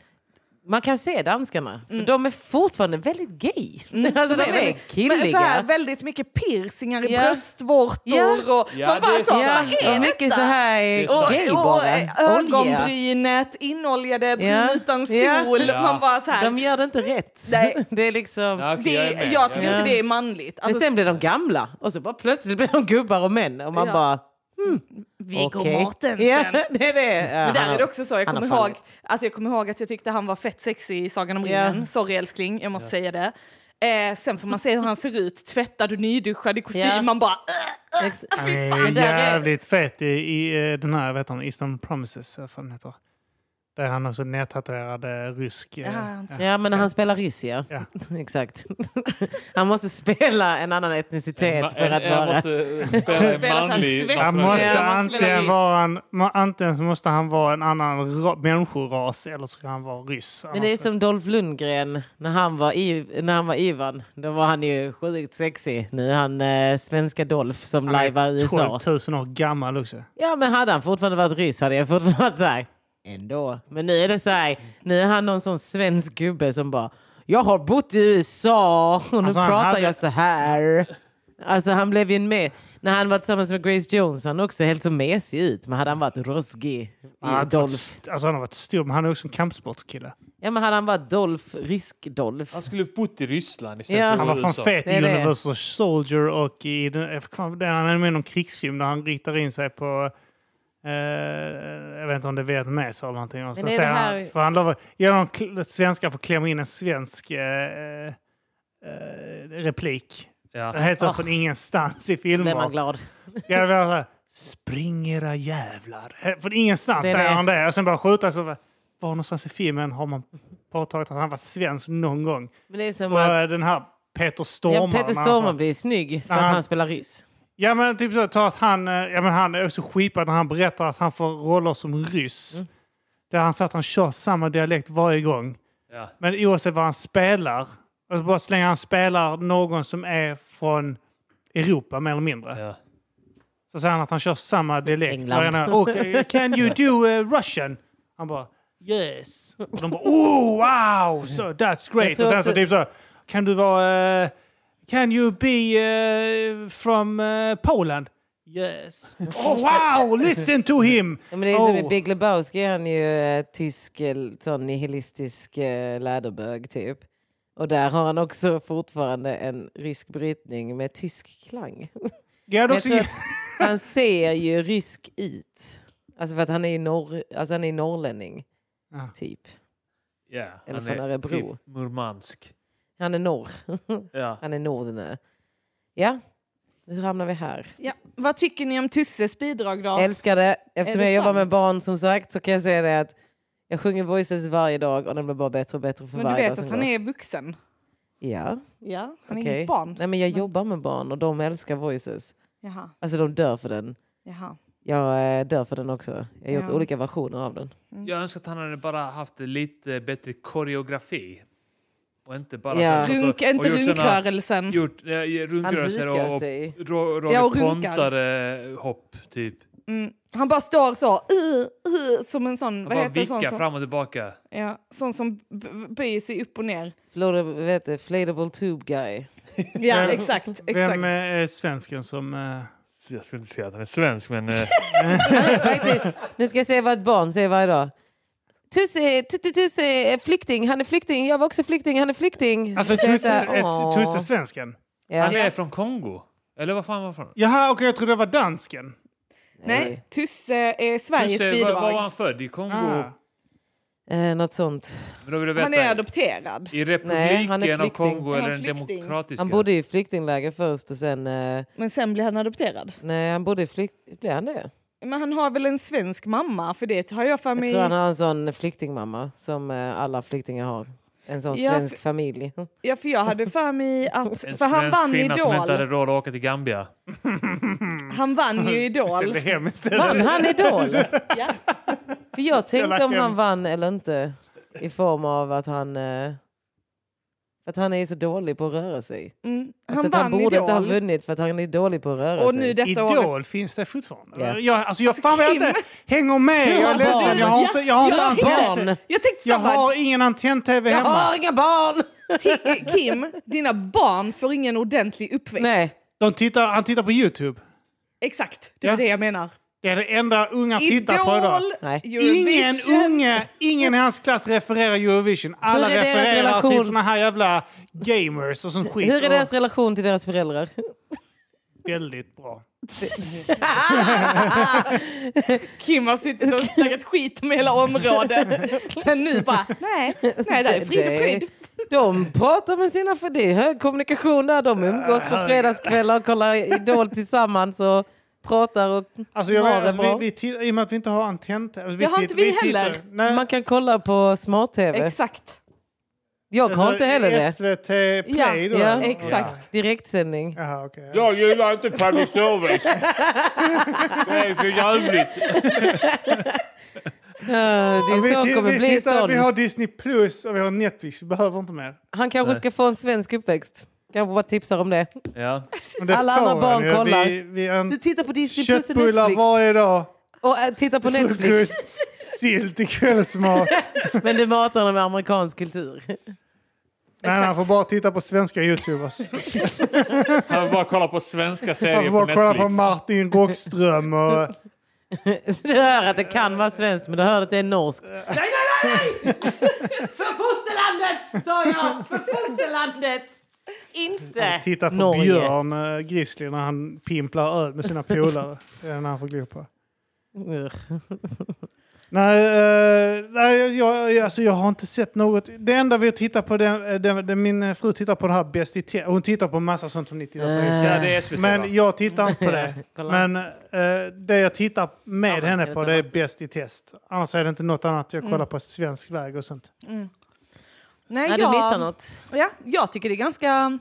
Speaker 2: man kan se danskarna, för de är fortfarande väldigt gay. Alltså de är killiga.
Speaker 3: Mm. Men så här, väldigt mycket piercingar i
Speaker 2: Ja.
Speaker 3: bröstvårtor
Speaker 2: Ja.
Speaker 3: och
Speaker 4: Ja,
Speaker 3: man bara
Speaker 4: det är
Speaker 3: så,
Speaker 4: så.
Speaker 3: vad
Speaker 2: Ja,
Speaker 3: är
Speaker 2: och
Speaker 3: detta?
Speaker 2: mycket så här
Speaker 4: så.
Speaker 2: gay
Speaker 3: och, och eh,
Speaker 2: bara. Olja.
Speaker 3: ögonbrynet, inoljade, bryn
Speaker 2: Ja.
Speaker 3: utan sol.
Speaker 2: Ja.
Speaker 4: Ja.
Speaker 3: Man bara så här,
Speaker 2: De gör det inte rätt.
Speaker 3: Nej.
Speaker 2: Det är liksom...
Speaker 4: Ja, okej,
Speaker 3: det,
Speaker 4: jag är med.
Speaker 3: jag,
Speaker 4: Jag är
Speaker 3: tycker
Speaker 4: med.
Speaker 3: inte det är manligt.
Speaker 2: Men
Speaker 3: Alltså,
Speaker 2: sen blir de gamla och så bara plötsligt blir de gubbar och män och man
Speaker 3: Ja.
Speaker 2: bara
Speaker 3: Viggo
Speaker 2: okej.
Speaker 3: Mortensen.
Speaker 2: Ja, det är det. Ja,
Speaker 3: Men där
Speaker 2: han har-
Speaker 3: är det också så, jag
Speaker 2: han har
Speaker 3: kommer, ihåg,
Speaker 2: fallit.
Speaker 3: alltså jag kommer ihåg att jag tyckte han var fett sexig i Sagan om
Speaker 2: Ja.
Speaker 3: ringen. Sorry älskling, jag måste säga det. Eh, sen får man se hur han ser ut, tvättad och nyduschad i kostym.
Speaker 2: Ja.
Speaker 3: Man bara... "Äh,
Speaker 2: Ex-
Speaker 1: Han är
Speaker 2: där är-
Speaker 1: jävligt fet i, i eh, den här, vad heter han, Eastern Promises, eh, vad fan heter. Där han också nättatuerad eh, rysk. eh,
Speaker 3: Ja, han ser-
Speaker 2: Ja, men när han spelar ryss, ja.
Speaker 1: Ja.
Speaker 2: Exakt. Han måste spela en annan
Speaker 4: Ma-
Speaker 2: etnicitet för
Speaker 4: en-
Speaker 2: att
Speaker 4: jag
Speaker 2: vara...
Speaker 4: måste eh, spela en
Speaker 3: Spela så här
Speaker 4: manlig.
Speaker 3: svett.
Speaker 1: Han
Speaker 3: Ja,
Speaker 1: måste
Speaker 3: man spelar
Speaker 1: antingen
Speaker 3: ryss.
Speaker 1: vara en, må- antingen så måste han vara en annan ra, människoras eller så kan han vara ryss.
Speaker 2: Men det är
Speaker 1: Annars-
Speaker 2: som Dolph Lundgren när han var, i, när han var Ivan. Då var han ju sjukt sexig. Nu är han eh, svenska Dolph som
Speaker 1: Han är
Speaker 2: lajvar i USA.
Speaker 1: 12 000 år gammal också.
Speaker 2: Ja, men hade han fortfarande varit ryss hade jag fortfarande varit så här. Ändå. Men nu är det så här. Nu är han någon sån svensk gubbe som bara. Jag har bott i USA och nu
Speaker 1: Alltså, han
Speaker 2: pratar
Speaker 1: hade-
Speaker 2: jag så här. Alltså han blev ju en med. När han var tillsammans med Grace Jones han också helt så mesig ut. Men hade han varit ruskig i
Speaker 1: Han, hade varit,
Speaker 2: Dolph.
Speaker 1: st- alltså han har varit stor, men han är också en kampsportskille.
Speaker 2: Ja men hade han varit Dolph, rysk Dolph.
Speaker 4: Han skulle bott i Ryssland istället
Speaker 2: Ja.
Speaker 4: för
Speaker 1: Han var fan
Speaker 4: USA.
Speaker 1: fet
Speaker 2: Det
Speaker 1: i
Speaker 2: är det.
Speaker 1: Universal Soldier och i den, jag kommer- den- han är med i någon krigsfilm där han ritar in sig på eh, jag vet inte om det är Vietnamese eller någonting. Och så
Speaker 3: Men det är
Speaker 1: säger
Speaker 3: det här-
Speaker 1: han, för han lovar, genom de kl- svenskar får klämma in en svensk eh, eh, replik. Det
Speaker 4: Ja.
Speaker 1: är helt så
Speaker 2: Ah.
Speaker 1: från ingenstans i
Speaker 2: Blev
Speaker 1: filmer.
Speaker 2: man glad.
Speaker 1: Jag vill säga, spring era jävlar. He- Från ingenstans
Speaker 2: Det är
Speaker 1: säger
Speaker 2: det.
Speaker 1: han det. Och sen bara skjuta. Så bara, var någonstans i filmen har man påtagit att han var svensk någon gång?
Speaker 2: Men det är som
Speaker 1: Och
Speaker 2: att
Speaker 1: eh, den här Peter Stormare.
Speaker 2: ja, Peter
Speaker 1: när han
Speaker 2: Stormare
Speaker 1: får-
Speaker 2: blir snygg för
Speaker 1: När
Speaker 2: att
Speaker 1: han-
Speaker 2: han spelar ryss.
Speaker 1: Ja men typ så, ta att han, eh, ja, men han är också skipad när han berättar att han får roller som ryss.
Speaker 4: Mm.
Speaker 1: Där han säger att han kör samma dialekt varje gång.
Speaker 4: Ja.
Speaker 1: Men oavsett vad han spelar. Alltså bara så länge han spelar någon som är från Europa mer eller mindre.
Speaker 4: Ja.
Speaker 1: Så säger han att han kör samma dialekt.
Speaker 2: England.
Speaker 1: England. Okay, eh, can you do uh, Russian? Han bara yes. Och de bara oh wow, so that's
Speaker 2: Jag
Speaker 1: great.
Speaker 2: tror
Speaker 1: Och sen
Speaker 2: också-
Speaker 1: så typ så kan du vara uh, can you be uh, from uh, Poland? Yes. Oh wow, listen to him.
Speaker 2: Ja, men det är som i
Speaker 1: Oh.
Speaker 2: Big Lebowski, han är ju eh, tysk, eh, sån nihilistisk eh, läderbög typ. Och där har han också fortfarande en rysk brytning med tysk klang.
Speaker 1: Ja, då
Speaker 2: Jag tror att han ser ju rysk ut. Alltså för att han är ju norr, alltså han är norrlänning,
Speaker 3: Ah.
Speaker 1: Ja.
Speaker 2: typ.
Speaker 4: Ja.
Speaker 2: Eller
Speaker 4: Han
Speaker 2: från
Speaker 4: är
Speaker 2: Örebro.
Speaker 4: typ Murmansk.
Speaker 2: Han är norr.
Speaker 4: Ja.
Speaker 2: Han är nordernö. Ja, hur hamnar vi här?
Speaker 3: Ja. Vad tycker ni om Tusses bidrag då?
Speaker 2: Älskar det. Eftersom
Speaker 3: Är det
Speaker 2: jag jobbar
Speaker 3: sant?
Speaker 2: med barn som sagt så kan jag säga det att jag sjunger voices varje dag och den blir bara bättre och bättre för
Speaker 3: Men du
Speaker 2: varje dag
Speaker 3: vet
Speaker 2: som
Speaker 3: att han
Speaker 2: går.
Speaker 3: är vuxen?
Speaker 2: Ja.
Speaker 3: Ja, han är
Speaker 2: Okej.
Speaker 3: inget barn.
Speaker 2: Nej, men jag jobbar med barn och de älskar voices.
Speaker 3: Jaha,
Speaker 2: Alltså de dör för den.
Speaker 3: jaha.
Speaker 2: Jag eh, dör för den också. Jag har gjort
Speaker 3: Ja.
Speaker 2: olika versioner av den.
Speaker 4: Jag önskar att han hade bara haft lite bättre koreografi. Och inte bara...
Speaker 2: Ja. alltså,
Speaker 4: så- så- så-
Speaker 3: Runk, inte
Speaker 4: och gjort såna-
Speaker 3: runkrörelsen.
Speaker 4: Gjort eh, runkrörelser
Speaker 2: Han hukar
Speaker 4: och, och
Speaker 2: sig.
Speaker 4: ro- Roger
Speaker 3: Ja, och runkar.
Speaker 4: Pontare hopp, typ.
Speaker 3: Mm. Han bara står så, uh, uh, som en sån,
Speaker 4: Han
Speaker 3: vad
Speaker 4: bara
Speaker 3: heter sån
Speaker 4: vickar
Speaker 3: som,
Speaker 4: fram och tillbaka.
Speaker 3: ja, sån som b- b- böjer sig upp och ner.
Speaker 2: Flora, vad heter det? Flatable tube guy.
Speaker 3: Ja,
Speaker 1: Vem-
Speaker 3: exakt, exakt.
Speaker 1: Vem eh, är svensken som... eh,
Speaker 4: Jag skulle inte säga att han är svensk, men... eh,
Speaker 2: Han är faktiskt, nu ska jag säga vad ett barn säger varje dag. Tusse, tusse, tusse är flykting, han är flykting, jag var också flykting, han är flykting.
Speaker 1: Alltså
Speaker 2: Så jag
Speaker 1: Tusse,
Speaker 2: säger,
Speaker 1: är
Speaker 2: "Åh."
Speaker 1: Tusse svensken?
Speaker 4: Han
Speaker 2: ja.
Speaker 4: är från Kongo. Eller vad fan var han från?
Speaker 1: Jaha, okej jag trodde det var dansken.
Speaker 3: Nej, Tusse är Sveriges
Speaker 4: Tusse, var,
Speaker 3: bidrag.
Speaker 4: var var han född? I Kongo?
Speaker 1: Ah.
Speaker 2: Eh, något sånt.
Speaker 4: Men då vill jag veta,
Speaker 3: han är adopterad.
Speaker 4: I republiken
Speaker 2: Nej, han är
Speaker 4: av
Speaker 2: flykting.
Speaker 4: Kongo
Speaker 3: Han är
Speaker 4: eller den
Speaker 3: flykting.
Speaker 4: demokratiska?
Speaker 2: Han bodde i flyktingläger först och sen... Eh,
Speaker 3: Men sen blir han adopterad.
Speaker 2: nej, han bodde i flykt... Blev han det?
Speaker 3: Men han har väl en svensk mamma? För det har jag för
Speaker 2: Jag
Speaker 3: mig.
Speaker 2: tror han har en sån flyktingmamma som eh, alla flyktingar har. En sån
Speaker 3: Ja,
Speaker 2: svensk
Speaker 3: för-
Speaker 2: familj.
Speaker 3: Ja, för jag hade för mig att...
Speaker 4: En
Speaker 3: för han
Speaker 4: svensk
Speaker 3: vann
Speaker 4: kvinna som inte hade
Speaker 3: Idol.
Speaker 4: råd att åka till Gambia.
Speaker 3: Han vann ju Idol.
Speaker 1: Ställde hem istället.
Speaker 2: Vann han Idol?
Speaker 3: Ja.
Speaker 2: För jag tänkte om han
Speaker 1: hemskt.
Speaker 2: vann eller inte i form av att han... eh, Att han är så dålig på att röra sig.
Speaker 3: Mm. Han
Speaker 2: Alltså att
Speaker 3: vann
Speaker 2: han borde inte ha
Speaker 3: Idol.
Speaker 2: vunnit för att han är dålig på att röra
Speaker 3: Och
Speaker 2: sig.
Speaker 3: nu detta året.
Speaker 1: Idol finns det fortfarande?
Speaker 2: Ja.
Speaker 1: Jag, alltså jag, fan vad jag
Speaker 3: Kim.
Speaker 1: inte hänger med.
Speaker 2: Du
Speaker 1: Jag
Speaker 2: har
Speaker 1: är ledsen.
Speaker 2: barn.
Speaker 1: Jag har inte, jag har inte
Speaker 2: har
Speaker 1: antenn.
Speaker 2: barn.
Speaker 3: Jag tänkte
Speaker 1: Jag
Speaker 3: samma.
Speaker 1: har ingen antenn-tv
Speaker 2: Jag
Speaker 1: hemma.
Speaker 2: har inga barn!
Speaker 3: Ti- eh, Kim, dina barn får ingen ordentlig uppväxt.
Speaker 2: Nej,
Speaker 1: De tittar, han tittar på YouTube.
Speaker 3: Exakt, det är
Speaker 1: Ja.
Speaker 3: det jag menar.
Speaker 1: Det är det enda unga tittar på idag.
Speaker 3: Idol,
Speaker 2: Nej.
Speaker 1: Ingen
Speaker 3: Eurovision.
Speaker 1: unge, ingen i hans klass refererar Eurovision. Alla
Speaker 2: Hur är deras
Speaker 1: refererar till
Speaker 2: relation?
Speaker 1: såna här jävla gamers och sån skit.
Speaker 2: hur är
Speaker 1: Och
Speaker 2: deras relation till deras föräldrar?
Speaker 1: Väldigt bra.
Speaker 3: Kim har suttit och snackat skit om hela området. Sen nu bara, nej, nej, där är frid och
Speaker 2: Det-
Speaker 3: fröjd.
Speaker 2: De pratar med sina... För det är hög kommunikation där. De umgås på fredagskvällar och kollar Idol tillsammans och pratar och
Speaker 1: Alltså, jag,
Speaker 2: Ja,
Speaker 1: vet-
Speaker 2: det
Speaker 1: alltså,
Speaker 2: var-
Speaker 1: vi, vi, titt- I och med att vi inte har antenn... Alltså,
Speaker 3: Det har inte vi
Speaker 1: tittar-
Speaker 3: heller.
Speaker 1: Nej.
Speaker 2: man kan kolla på smart-tv.
Speaker 3: Exakt.
Speaker 2: Jag har
Speaker 1: Alltså,
Speaker 2: inte heller det.
Speaker 1: SVT Play då?
Speaker 2: ja,
Speaker 1: eller?
Speaker 3: exakt.
Speaker 2: Direktsändning.
Speaker 1: Ja. Jaha, okej.
Speaker 4: Jag gillar inte public service. Det är för jävligt.
Speaker 2: Ja,
Speaker 1: Ja,
Speaker 2: Din
Speaker 1: vi,
Speaker 2: son
Speaker 1: ti-
Speaker 2: kommer
Speaker 1: vi,
Speaker 2: bli
Speaker 1: tittar- vi
Speaker 2: sån.
Speaker 1: har Disney Plus och vi har Netflix. Vi behöver inte mer.
Speaker 2: Han kanske
Speaker 4: Nej.
Speaker 2: ska få en svensk uppväxt. Kanske bara tipsar om det.
Speaker 4: Ja.
Speaker 1: Men det
Speaker 2: Alla
Speaker 1: får
Speaker 2: andra
Speaker 1: han
Speaker 2: barn
Speaker 1: ju. Vi-
Speaker 2: kollar.
Speaker 1: Vi, har en
Speaker 2: Du tittar på Disney Plus och
Speaker 1: köttbullar
Speaker 2: Netflix.
Speaker 1: varje dag.
Speaker 2: Och äh, tittar på Netflix.
Speaker 1: Frukost, sill till kvällsmat.
Speaker 2: Men du matar honom med amerikansk kultur.
Speaker 1: Nej, han får bara titta på svenska youtubers.
Speaker 4: Han vill bara kolla på svenska
Speaker 1: Han
Speaker 4: serier
Speaker 1: får
Speaker 4: på
Speaker 1: bara kolla på
Speaker 4: Netflix.
Speaker 1: Martin Rockström och...
Speaker 2: Du hör att det kan vara svenskt men du hör att det är norskt. Nej, nej, nej! För fosterlandet sa jag! För fosterlandet! Inte
Speaker 1: Titta på
Speaker 2: Norge.
Speaker 1: Björn eh, Grizzly när han pimplar öl med sina polare. Det är den han får glo på.
Speaker 2: Ur.
Speaker 1: Nej, eh, nej jag, jag- alltså jag har inte sett något. Det enda vi tittar på, det, eh, det, det, min fru tittar på det här Bäst i test. Hon tittar på massa sånt hon inte tittar på. i och för sig.
Speaker 4: Ja, det är SVT va?
Speaker 1: Men jag tittar inte på det.
Speaker 2: Eh. Kolla.
Speaker 1: Men eh, det jag tittar med
Speaker 2: Ja, men
Speaker 1: henne
Speaker 2: jag Mm.
Speaker 1: på
Speaker 2: vet
Speaker 1: det är
Speaker 2: inte.
Speaker 1: Bäst i test. Annars är det inte något annat jag kollar på svensk väg och sånt.
Speaker 3: Nej,
Speaker 2: Ja, du
Speaker 3: jag,
Speaker 2: missar något.
Speaker 3: Ja, jag tycker det är ganska...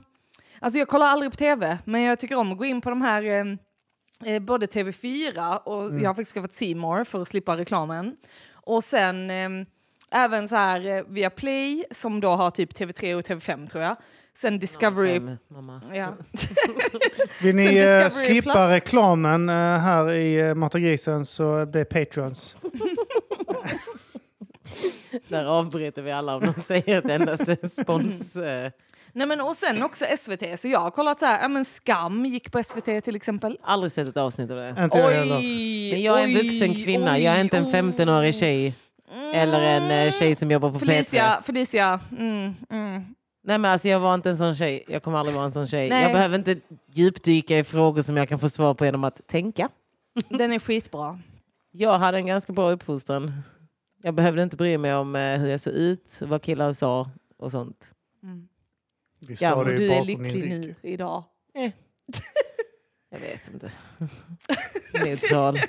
Speaker 3: Alltså jag kollar aldrig på tv, men jag tycker om att gå in på de här... eh, Eh, både TV4 och
Speaker 2: Mm.
Speaker 3: jag har faktiskt skaffat C More för att slippa reklamen. Och sen eh, även så här eh, via Play som då har typ TV3 och TV5 tror jag. Sen Discovery...
Speaker 2: Fem, mamma.
Speaker 3: Ja.
Speaker 1: Vill
Speaker 3: Sen
Speaker 1: ni eh,
Speaker 3: Discovery
Speaker 1: slippa
Speaker 3: Plus.
Speaker 1: reklamen eh, här i eh, Mata grisen så blir Patrons.
Speaker 2: Där avbryter vi alla om de säger ett endaste spons. eh,
Speaker 3: Nej, men, och sen också SVT, så jag har kollat så här, ja, men Skam gick på SVT till exempel.
Speaker 2: Aldrig sett ett avsnitt av det.
Speaker 1: Inte jag heller.
Speaker 2: Men jag är en vuxen kvinna, jag är inte en 15-årig tjej. Eller en eh, tjej som jobbar på P3.
Speaker 3: Felicia, Felicia. Mm, mm.
Speaker 2: Nej men alltså jag var inte en sån tjej. Jag kommer aldrig vara en sån tjej.
Speaker 3: Nej.
Speaker 2: Jag behöver inte djupdyka i frågor som jag kan få svar på genom att tänka.
Speaker 3: Den är skitbra.
Speaker 2: Jag hade en ganska bra uppfostran. Jag behövde inte bry mig om eh, hur jag såg ut, vad killar sa och sånt.
Speaker 1: Vi
Speaker 2: Ja,
Speaker 1: sa
Speaker 2: men
Speaker 1: det ju
Speaker 3: Du är
Speaker 1: bakom din
Speaker 3: lycklig
Speaker 1: rygg.
Speaker 3: nu idag.
Speaker 2: Jag vet inte. Neutral.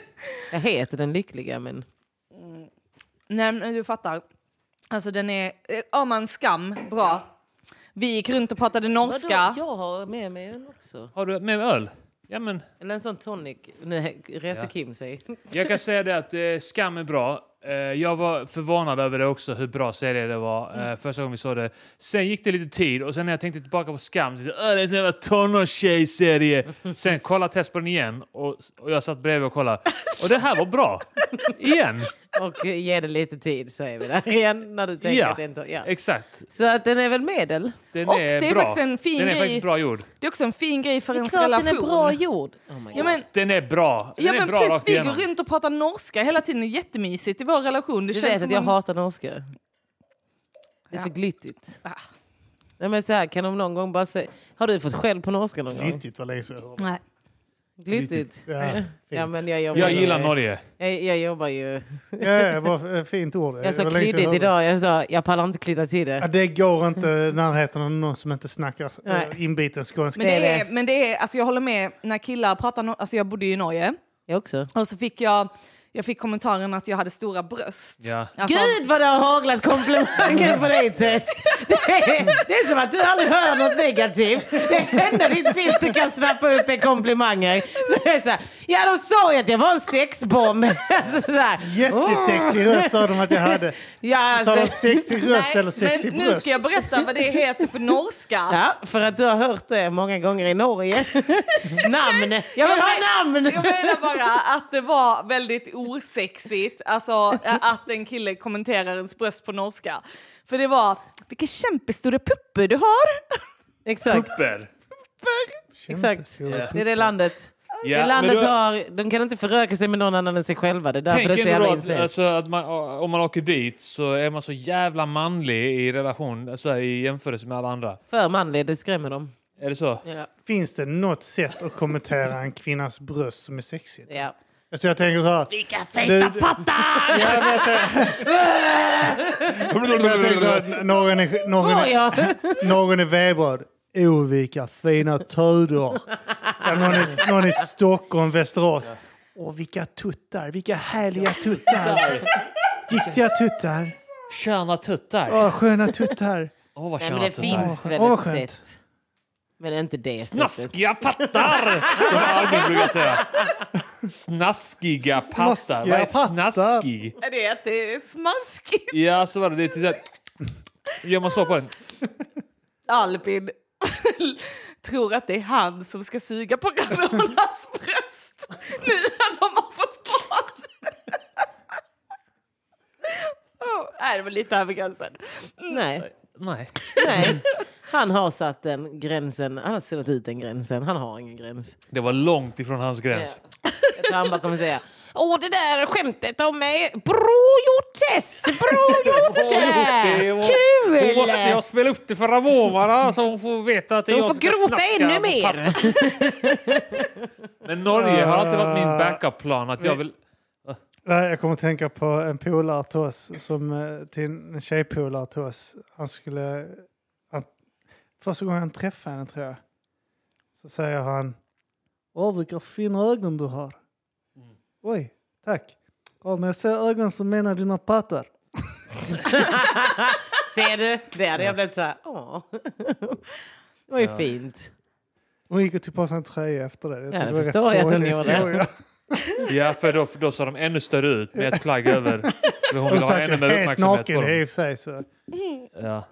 Speaker 2: Jag heter den lyckliga men...
Speaker 3: Mm. Nej, men du fattar. Alltså den är... eh, Ja, man skam. Bra. Vi gick runt och pratade norska.
Speaker 2: Jag har med mig en också.
Speaker 4: Har du med öl? Ja, men
Speaker 2: Eller en sån tonic. Nu reste
Speaker 4: Ja.
Speaker 2: Kim sig.
Speaker 4: jag kan säga det att eh, Skam är bra. Eh, jag var förvånad över det också, hur bra serie det var
Speaker 3: Mm.
Speaker 4: eh, första gången vi såg det. Sen gick det lite tid och sen när jag tänkte tillbaka på Skam så tänkte jag "Åh, det är en sån jävla tonårstjejserie. Sen kollade jag test på den igen och, och jag satt bredvid och kollade. Och det här var bra. Igen.
Speaker 2: Och eh, ge det lite tid så är vi där igen. När du tänker
Speaker 4: Ja.
Speaker 2: att det inte... Ja.
Speaker 4: Exakt.
Speaker 2: Så att den är väl medel?
Speaker 4: Den
Speaker 3: Och
Speaker 4: är
Speaker 3: det är
Speaker 4: bra.
Speaker 3: faktiskt en fin
Speaker 4: den är
Speaker 3: grej.
Speaker 4: faktiskt bra gjord.
Speaker 3: Det är också en fin grej för
Speaker 2: Det är
Speaker 3: ens
Speaker 2: klart
Speaker 3: relation.
Speaker 2: den är bra gjord. Oh my God.
Speaker 3: Ja, men,
Speaker 4: Den är bra. Den
Speaker 3: ja,
Speaker 4: är
Speaker 3: men
Speaker 4: bra
Speaker 3: plus
Speaker 4: rakt
Speaker 3: vi går
Speaker 4: igenom.
Speaker 3: runt och pratar norska hela tiden. Det är jättemysigt i vår relation. Det
Speaker 2: Du
Speaker 3: känns
Speaker 2: vet
Speaker 3: som
Speaker 2: att jag
Speaker 3: en-
Speaker 2: hatar norska. Det är
Speaker 3: Ja.
Speaker 2: för glittigt.
Speaker 3: Ah.
Speaker 2: Nej, men så här, kan de någon gång bara säga... Har du fått skäll på norska någon gång?
Speaker 1: Nyttigt var länge sedan jag hörde.
Speaker 3: Nej.
Speaker 2: Glittigt.
Speaker 1: Ja, fint.
Speaker 2: Ja, men jag, jobbar
Speaker 4: Jag
Speaker 2: ju-
Speaker 4: gillar Norge.
Speaker 2: Jag, jag jobbar ju...
Speaker 1: Ja, vad eh, fint ord. Det
Speaker 2: Jag sa
Speaker 1: var länge sedan
Speaker 2: klyddigt
Speaker 1: hörde det.
Speaker 2: idag. Jag sa jag pallar inte klydda till
Speaker 1: Ja,
Speaker 2: det.
Speaker 1: det går inte i närheten av någon som inte snackar
Speaker 2: Nej.
Speaker 1: eh, inbiten skånska.
Speaker 3: Men det
Speaker 2: Det
Speaker 3: är,
Speaker 2: är
Speaker 3: men det är, alltså jag håller med, när killar pratar, no- alltså jag bodde ju i Norge
Speaker 2: Jag också.
Speaker 3: och så fick jag, jag fick kommentaren att jag hade stora bröst.
Speaker 4: Ja.
Speaker 3: Alltså,
Speaker 2: Gud vad det har haglat komplimanger på dig Tess! Det är, det är som att du aldrig hör något negativt. Det enda ditt filter kan snappa upp är komplimanger. Så det är så här, ja de sa ju att jag var en sexbomb. Alltså, så här, "Oh,
Speaker 1: Jättesexig röst sa de att jag hade.
Speaker 2: ja,
Speaker 1: Sa de
Speaker 2: alltså,
Speaker 1: sexig röst eller sexig
Speaker 3: men nu
Speaker 1: bröst?
Speaker 3: ska jag berätta vad det heter på norska.
Speaker 2: ja, för att du har hört det många gånger i Norge. namn! Jag vill ha namn!
Speaker 3: Jag menar bara att det var väldigt osexigt alltså, ä- att en kille kommenterar ens bröst på norska. För det var, vilken kämpestora puppe du har!
Speaker 2: Exakt,
Speaker 4: Super.
Speaker 2: exakt.
Speaker 1: Kämpestora
Speaker 2: Det är det landet.
Speaker 4: Ja,
Speaker 2: det
Speaker 4: men
Speaker 2: landet
Speaker 4: du-
Speaker 2: har, de kan inte föröka sig med någon annan än sig själva. Det är därför
Speaker 4: Tänk
Speaker 2: det är så
Speaker 4: ändå
Speaker 2: jävla
Speaker 4: att,
Speaker 2: incest.
Speaker 4: alltså, att man, om man åker dit så är man så jävla manlig i relation, alltså, i jämförelse med alla andra.
Speaker 2: För manlig, det skrämmer dem.
Speaker 4: Är det så?
Speaker 2: Ja.
Speaker 1: Finns det något sätt att kommentera en kvinnas bröst som är sexigt?
Speaker 2: Ja.
Speaker 1: Alltså jag tänker så här.
Speaker 2: Vilka
Speaker 1: Du-
Speaker 2: feta
Speaker 1: du-
Speaker 2: pattar!
Speaker 1: Ja, men jag tänker- jag tänker så här, Någon är, någon
Speaker 2: Får
Speaker 1: är,
Speaker 2: jag?
Speaker 1: någon är välbröd. Oh, vilka fina tödor. Ja, någon, i, någon i Stockholm, Västerås. Åh, vilka tuttar. Vilka härliga tuttar. Riktiga tuttar.
Speaker 4: Sköna tuttar. Åh,
Speaker 1: Åh, sköna tuttar.
Speaker 4: vad
Speaker 2: Nej, men
Speaker 4: sköna
Speaker 2: det
Speaker 4: tuttar.
Speaker 2: finns väl
Speaker 1: Åh,
Speaker 2: ett
Speaker 1: skönt.
Speaker 2: sätt. Men inte det sättet.
Speaker 4: Snaskiga pattar! Som Albin brukar säga. Snaskiga pattar. Vad är
Speaker 1: Snaskiga pattar.
Speaker 4: snaskig?
Speaker 3: Är det att det är smaskigt?
Speaker 4: Ja, så var det. Det är typ så här- Gör man så på den?
Speaker 3: Albin tror att det är han som ska suga på Ramonas bröst nu när de har fått barn. oh, nej, det var lite över gränsen.
Speaker 2: Nej,
Speaker 4: Nej.
Speaker 2: nej. Han har satt den gränsen. Han har suddat ut den gränsen. Han har ingen gräns.
Speaker 4: Det var långt ifrån hans gräns.
Speaker 2: Jag tror han bara kommer säga Åh, det där skämtet om mig. Bra gjort Tess! Bra gjort!
Speaker 4: Det var- Hon
Speaker 2: Kul!
Speaker 4: måste jag spela upp det för Ramona så hon får veta att det är
Speaker 2: Så
Speaker 4: jag
Speaker 2: hon får
Speaker 4: som ska
Speaker 2: gråta ännu
Speaker 4: snaska på papper.
Speaker 2: mer.
Speaker 4: Men Norge har alltid varit min backup-plan. Att jag vill...
Speaker 1: Nej, jag kommer att tänka på en polare till oss, som, eh, till en tjejpolare till oss. Han skulle... Han, första gången han träffade henne, tror jag, så säger han Åh, vilka fina ögon du har.
Speaker 2: Mm.
Speaker 1: Oj, tack. Ja, när jag ser ögon så menar jag dina pattar.
Speaker 2: Ser du? Det hade jag blivit så här. Åh. Det var ju fint.
Speaker 1: Hon gick och tog på sig en tröja efter det. Jag
Speaker 2: Ja,
Speaker 1: tyckte
Speaker 2: det
Speaker 1: var rätt
Speaker 2: förstår jag att hon
Speaker 1: sorglig
Speaker 2: gjorde.
Speaker 1: historia.
Speaker 4: Ja, för då, för då såg de ännu större ut med ett plagg över. Så hon
Speaker 1: Hon
Speaker 4: vill ha
Speaker 1: satt ju
Speaker 4: ännu mer
Speaker 1: helt
Speaker 4: uppmärksamhet
Speaker 1: naken
Speaker 4: på
Speaker 1: i
Speaker 4: dem.
Speaker 1: och för sig. Så.
Speaker 4: Ja.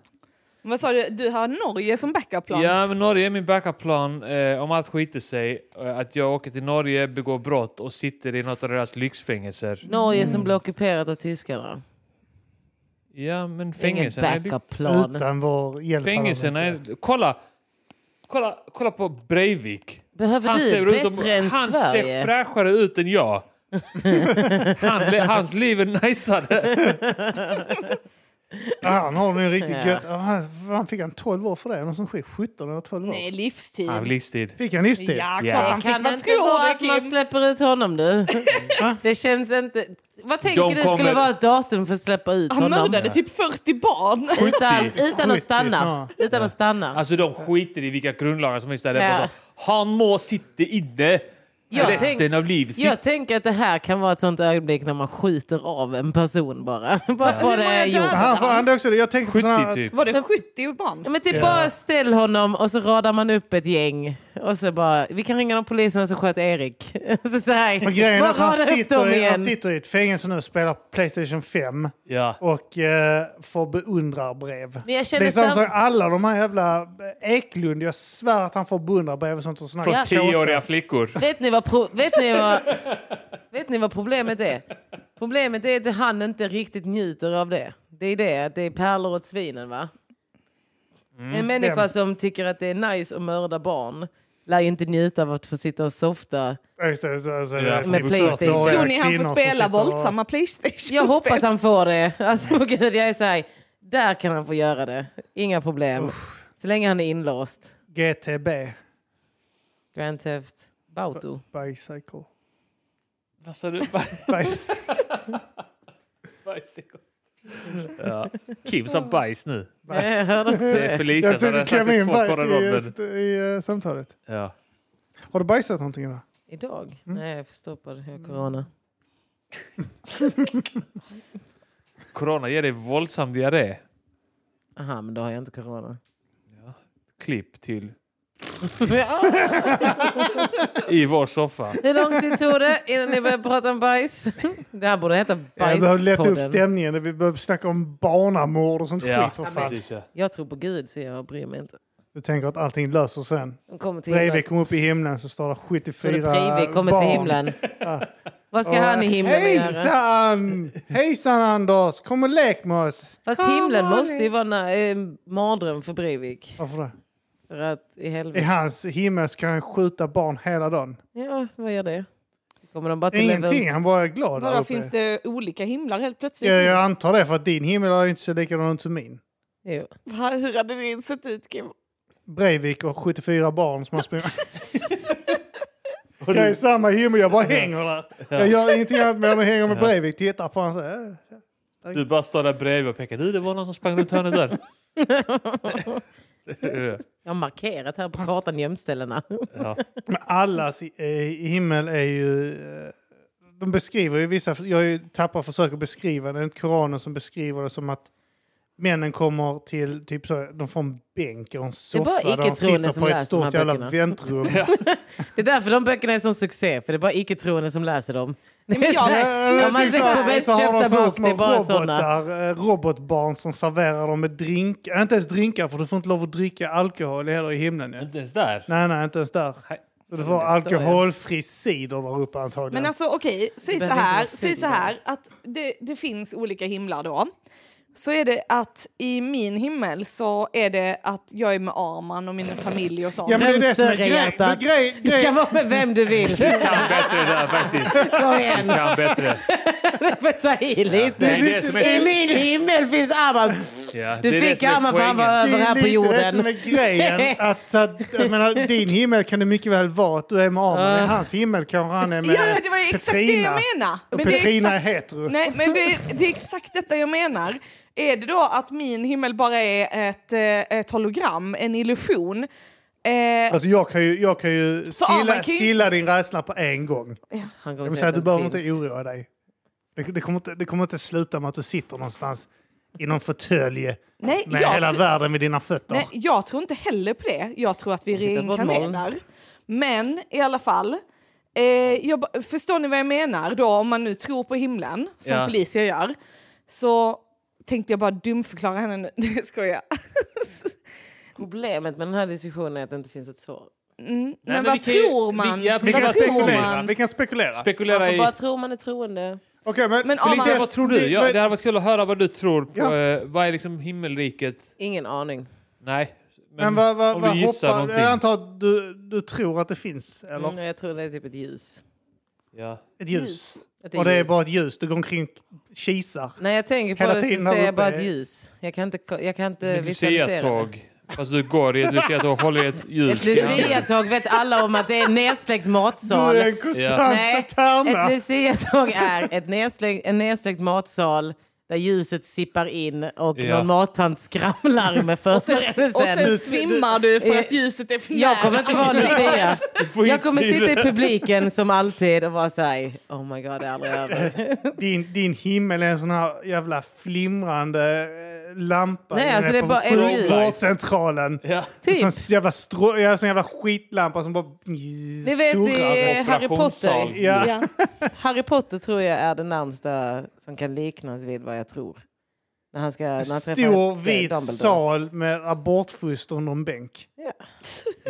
Speaker 3: Vad sa du? Du har Norge som backup-plan?
Speaker 4: ja, men Norge är min backup-plan. Eh, om allt skiter sig, eh, att jag åker till Norge, begår brott och sitter i något av deras lyxfängelser.
Speaker 2: Norge som blev ockuperat av tyskarna.
Speaker 4: Ja, men
Speaker 2: Ingen
Speaker 4: fängelserna... är ly-
Speaker 2: backup-plan.
Speaker 1: Utan vår hjälp. hade hon
Speaker 4: Fängelserna
Speaker 1: inte.
Speaker 4: är... Kolla! Kolla, kolla på Breivik.
Speaker 2: Behöver du bättre än
Speaker 4: han
Speaker 2: Sverige?
Speaker 4: ser fräschare ut än jag. han, le- hans liv är najsare.
Speaker 1: Ja, han har nu riktigt
Speaker 2: Ja.
Speaker 1: gött. Ja, Han, han fick han 12 år för det? Någon som skit 17 eller 12 år?
Speaker 3: Nej, livstid.
Speaker 4: Han livstid.
Speaker 1: Fick han livstid?
Speaker 3: Ja, klart
Speaker 4: Ja.
Speaker 3: han fick.
Speaker 2: Kan det
Speaker 3: Vad
Speaker 2: inte vara
Speaker 3: tror
Speaker 2: att man
Speaker 3: du, Kim?
Speaker 2: släpper ut honom nu?
Speaker 1: Va?
Speaker 2: det känns inte... Vad tänker
Speaker 4: De
Speaker 2: du skulle
Speaker 4: kommer-
Speaker 2: vara ett datum för att släppa ut
Speaker 3: Han
Speaker 2: honom?
Speaker 3: mördade typ 40 barn.
Speaker 2: Utan,
Speaker 4: 70.
Speaker 2: utan att
Speaker 1: 70,
Speaker 2: stanna.
Speaker 1: snarare.
Speaker 2: Utan att stanna.
Speaker 4: Alltså de skiter i vilka grundlagar som finns där. Det är
Speaker 2: Ja.
Speaker 4: bara så, Han må sitta inne
Speaker 2: Jag
Speaker 4: resten
Speaker 2: tänk-
Speaker 4: av livet.
Speaker 1: Alltså,
Speaker 4: Sitt-
Speaker 2: Jag tänker att det här kan vara ett sånt ögonblick när man skjuter av en person bara. bara få
Speaker 3: Hur många
Speaker 2: det gjort.
Speaker 1: Ja, Han får han också det. Jag tänker på
Speaker 4: 70
Speaker 1: sådana
Speaker 4: typ.
Speaker 3: Var det 70 barn?
Speaker 2: Ja, men typ bara ställ honom och så radar man upp ett gäng. Och så bara, vi kan ringa de polisen som sköt Erik. så så här,
Speaker 1: Men grejen är
Speaker 2: bara
Speaker 1: att han
Speaker 2: rada upp
Speaker 1: sitter,
Speaker 2: dem
Speaker 1: i, han
Speaker 2: igen.
Speaker 1: sitter i ett fängelse nu och spelar Playstation 5
Speaker 4: Ja.
Speaker 1: och eh, får beundrarbrev.
Speaker 2: Men jag
Speaker 1: det
Speaker 2: känner
Speaker 1: är samma
Speaker 2: sam-
Speaker 1: sak, alla de här jävla Eklund, jag svär att han får beundrarbrev och sånt. Och såna
Speaker 2: Ja.
Speaker 4: Tioåriga flickor.
Speaker 2: Vet ni, vad pro- vet, ni vad, vet ni vad problemet är? Problemet är att han inte riktigt njuter av det. Det är det, att det är pärlor åt svinen va? En människa
Speaker 1: Vem?
Speaker 2: som tycker att det är nice att mörda barn lär ju inte njuta av att få sitta och softa.
Speaker 1: Ja, just det, så- så- så-
Speaker 4: Med
Speaker 1: så-
Speaker 2: Playstation.
Speaker 1: så- så-
Speaker 3: Tror ni han
Speaker 1: kvinnor
Speaker 3: får
Speaker 1: som
Speaker 3: spela
Speaker 1: sitter och-
Speaker 3: våldsamma Playstation-spel?
Speaker 2: Jag hoppas han får det. Alltså på gud, jag är så här, där kan han få göra det. Inga problem. Så länge han är inlåst.
Speaker 1: GTB,
Speaker 2: Grand Theft Auto.
Speaker 1: Bicycle.
Speaker 4: Vad sa du? Bi-
Speaker 1: Bicycle.
Speaker 4: bicycle. ja. Kim sa bajs nu.
Speaker 2: Jag hörde också
Speaker 4: Det är
Speaker 2: det.
Speaker 4: Felicia
Speaker 1: Jag
Speaker 4: som
Speaker 1: tänkte
Speaker 4: har
Speaker 1: klämma in bajs
Speaker 4: sagt två på
Speaker 1: i,
Speaker 4: den
Speaker 1: i,
Speaker 4: raden.
Speaker 1: eh, samtalet.
Speaker 4: Ja.
Speaker 1: Har du bajsat någonting idag?
Speaker 2: Idag? Nej, jag är förstoppad. Jag har corona.
Speaker 4: Corona ger dig våldsam diarré.
Speaker 2: Aha, men då har jag inte corona.
Speaker 4: Klipp till i vår soffa.
Speaker 2: Hur lång tid tog det innan ni började prata om bajs? Det här borde heta
Speaker 1: Jag behöver lätta upp
Speaker 2: Bajspodden.
Speaker 1: stämningen. Vi behöver snacka om barnamord och sånt skit för fan.
Speaker 4: precis, ja.
Speaker 2: Jag tror på Gud så jag bryr mig inte.
Speaker 1: Du tänker att allting löser sen.
Speaker 2: De kommer till himlen.
Speaker 1: Breivik kom upp i himlen så står det
Speaker 2: Tror
Speaker 1: 74
Speaker 2: du Breivik kommer
Speaker 1: barn.
Speaker 2: till himlen. Vad ska han i himlen göra?
Speaker 1: Hejsan! Hejsan Anders! Kom och lek med oss!
Speaker 2: Fast
Speaker 3: Kom,
Speaker 2: himlen
Speaker 3: Malin.
Speaker 2: måste ju vara na- eh, mardröm för Breivik.
Speaker 1: Varför det?
Speaker 2: För att i
Speaker 1: I
Speaker 2: helvete.
Speaker 1: hans himmel så kan han skjuta barn hela dagen.
Speaker 2: Ja, vad gör det? Kommer de bara till level?
Speaker 1: Ingenting, han bara är glad där
Speaker 3: Vadå,
Speaker 1: uppe.
Speaker 3: finns det olika himlar helt plötsligt?
Speaker 1: jag, jag antar det för att din himmel är inte så likadan ut som min.
Speaker 2: Jo.
Speaker 3: Va, Hur hade din sett ut, Kim?
Speaker 1: Breivik och 74 barn som han springer... jag är i samma himmel, jag bara hänger där. Jag gör ingenting annat mer än att hänga med Breivik. Tittar på honom så här.
Speaker 4: Du bara står där bredvid och pekar. Du, det var någon som sprang runt hörnet där.
Speaker 2: Jag har markerat här på kartan gömställena.
Speaker 4: ja.
Speaker 1: Men allas i- eh, himmel är ju... eh, De beskriver ju vissa... Jag har ju tappar försök att beskriva det. Det är inte Koranen som beskriver det som att männen kommer till typ så, de får en bänk och en
Speaker 2: bara
Speaker 1: soffa där de
Speaker 2: icke-troende
Speaker 1: sitter
Speaker 2: som
Speaker 1: på
Speaker 2: läser
Speaker 1: ett
Speaker 2: de här
Speaker 1: stort jävla
Speaker 2: böckerna.
Speaker 1: väntrum.
Speaker 2: Det är därför de böckerna är en sån succé, för det är bara icke-troende som läser dem.
Speaker 3: Nej, men jag-
Speaker 2: Det är så-
Speaker 1: Ja, men
Speaker 2: Om man
Speaker 1: typ
Speaker 2: ser
Speaker 1: så-
Speaker 2: på mest
Speaker 1: så har de
Speaker 2: köpta
Speaker 1: såna
Speaker 2: bok,
Speaker 1: små
Speaker 2: det är bara
Speaker 1: robotar, eh, Robotbarn som serverar dem med drink. eh, Inte ens drinkar, för du får inte lov att dricka alkohol heller i himlen. Ja.
Speaker 4: Inte ens där.
Speaker 1: Nej, nej, inte ens där.
Speaker 4: Nej.
Speaker 1: Så du får
Speaker 2: det står ju.
Speaker 1: alkoholfri cider där uppe antagligen.
Speaker 3: Men alltså okej, säg
Speaker 2: Det
Speaker 3: så
Speaker 2: behöver inte
Speaker 3: här,
Speaker 2: vara
Speaker 3: säg
Speaker 2: ful
Speaker 3: så här att det, det finns olika himlar då. Så är det att i min himmel så är det att jag är med Arman och min familj och sånt.
Speaker 1: ja, men det är det som är
Speaker 2: Främst
Speaker 1: grejen. Det är
Speaker 2: hjärtat.
Speaker 1: grej,
Speaker 2: Du kan
Speaker 1: grej.
Speaker 2: vara med vem du vill.
Speaker 4: Kan bättre där faktiskt.
Speaker 2: Kom igen,
Speaker 4: Kan bättre.
Speaker 2: du får ta i
Speaker 4: Det
Speaker 2: lite.
Speaker 4: är det som
Speaker 2: I
Speaker 4: är...
Speaker 2: min himmel finns Arman.
Speaker 4: Ja, det
Speaker 2: Du
Speaker 4: är det
Speaker 2: fick
Speaker 4: som är
Speaker 2: Arman för han var
Speaker 4: poängen.
Speaker 1: Det
Speaker 2: över
Speaker 1: är
Speaker 2: här på
Speaker 1: lite det som
Speaker 2: jorden.
Speaker 1: är grejen. Att, så att, jag menar, din himmel kan det mycket väl vara att du är med Arman. I hans himmel kanske han är med
Speaker 3: Ja, det var ju exakt
Speaker 1: Petrina.
Speaker 3: det jag menar.
Speaker 1: Och
Speaker 3: Men det är
Speaker 1: Petrina
Speaker 3: exakt-
Speaker 1: är hetero.
Speaker 3: Nej, men det, det är exakt detta jag menar. Är det då att min himmel bara är ett, eh, ett hologram, en illusion? Eh,
Speaker 1: Alltså jag kan ju, jag kan ju
Speaker 3: Arman
Speaker 1: stilla,
Speaker 3: kan ju-
Speaker 1: stilla din rädsla på en gång.
Speaker 2: Han
Speaker 1: Jag
Speaker 2: kommer
Speaker 1: vill
Speaker 2: säga
Speaker 1: säga,
Speaker 2: att
Speaker 1: du
Speaker 2: det
Speaker 1: behöver
Speaker 2: inte
Speaker 1: inte
Speaker 2: finns.
Speaker 1: oroa dig. Det, det, kommer inte, det kommer inte sluta med att du sitter någonstans i någon fåtölj
Speaker 3: nej,
Speaker 1: med
Speaker 3: jag
Speaker 1: hela
Speaker 3: tr-
Speaker 1: världen med dina fötter.
Speaker 3: nej, jag tror inte heller på det. Jag tror att vi
Speaker 2: Jag sitter på ett
Speaker 3: reinkarnerar. Men i alla fall, eh, jag, ba- förstår ni vad jag menar? Då, om man nu tror på himlen, som
Speaker 4: Ja.
Speaker 3: Felicia gör, så tänkte jag bara dumförklara henne nu. Det ska jag.
Speaker 2: Problemet med den här diskussionen är att det inte finns ett svar.
Speaker 3: Mm. men,
Speaker 4: men vi
Speaker 3: vad
Speaker 4: kan ju-
Speaker 3: tror man?
Speaker 4: vi- ja,
Speaker 1: vi,
Speaker 4: precis.
Speaker 1: kan
Speaker 3: vad
Speaker 4: vad tror
Speaker 1: spekulera.
Speaker 3: man?
Speaker 1: vi kan spekulera.
Speaker 2: Man
Speaker 4: Spekulera
Speaker 2: får
Speaker 4: i...
Speaker 2: bara tro man är troende.
Speaker 1: Okej, men,
Speaker 3: Men Arman-
Speaker 4: Felicia, vad tror du? Ja,
Speaker 1: men-
Speaker 4: det hade varit kul att höra vad du tror på.
Speaker 1: Ja.
Speaker 4: eh, Vad är liksom himmelriket?
Speaker 2: Ingen aning.
Speaker 4: Nej.
Speaker 1: men vad, vad,
Speaker 4: om
Speaker 1: vad
Speaker 4: du gissar
Speaker 1: hoppar,
Speaker 4: någonting.
Speaker 1: Jag antar att du, du tror att det finns, eller?
Speaker 2: Mm, jag tror det är typ ett ljus.
Speaker 4: Ja.
Speaker 1: Ett ljus.
Speaker 2: Att
Speaker 1: Och det är
Speaker 2: ljus.
Speaker 1: bara ett ljus. Du går omkring och kisar.
Speaker 2: När jag tänker på
Speaker 1: Hela
Speaker 2: det
Speaker 1: tiden
Speaker 2: så
Speaker 1: här
Speaker 2: ser jag
Speaker 1: uppe
Speaker 2: bara
Speaker 1: är-
Speaker 2: ett ljus. Jag kan inte, jag kan inte
Speaker 4: Ett
Speaker 2: Eh, visualisera det.
Speaker 4: luciatåg. Fast du går i ett luciatåg, håller i ett ljus.
Speaker 2: Ett luciatåg vet alla om att det är en nedsläckt
Speaker 1: Du
Speaker 2: matsal.
Speaker 1: är en konstant
Speaker 2: Nej, ett
Speaker 1: satirna.
Speaker 2: luciatåg är ett nedsläck, en nedsläckt matsal där ljuset sippar in och
Speaker 4: Ja.
Speaker 2: någon mattant skramlar med förberedelsen.
Speaker 3: Och Alltså, sen svimmar du för
Speaker 2: Eh,
Speaker 3: att ljuset är för nära.
Speaker 2: Jag kommer inte vara lucia.
Speaker 4: får
Speaker 2: Jag
Speaker 4: inte
Speaker 2: kommer
Speaker 4: se
Speaker 2: sitta i
Speaker 4: det.
Speaker 2: publiken som alltid och vara såhär, oh my god, det är aldrig över.
Speaker 1: Din, din himmel är en sån här jävla flimrande eh, lampa
Speaker 2: Nej,
Speaker 1: inne
Speaker 2: alltså det är
Speaker 1: på
Speaker 2: bara ett ljus.
Speaker 1: vårdcentralen.
Speaker 4: Ja.
Speaker 1: Som
Speaker 2: Typ.
Speaker 1: en jävla, strå, ja, sån jävla skitlampa som bara
Speaker 2: Det vet
Speaker 1: surrar.
Speaker 2: i Harry
Speaker 4: Operationssal.
Speaker 2: Potter.
Speaker 1: Ja.
Speaker 2: Ja. Harry Potter tror jag är det närmsta som kan liknas vid vad jag tror. När han ska... När han träffar,
Speaker 1: Stor
Speaker 2: eh,
Speaker 1: vit
Speaker 2: Dumbledore.
Speaker 1: sal med abortfoster under en bänk.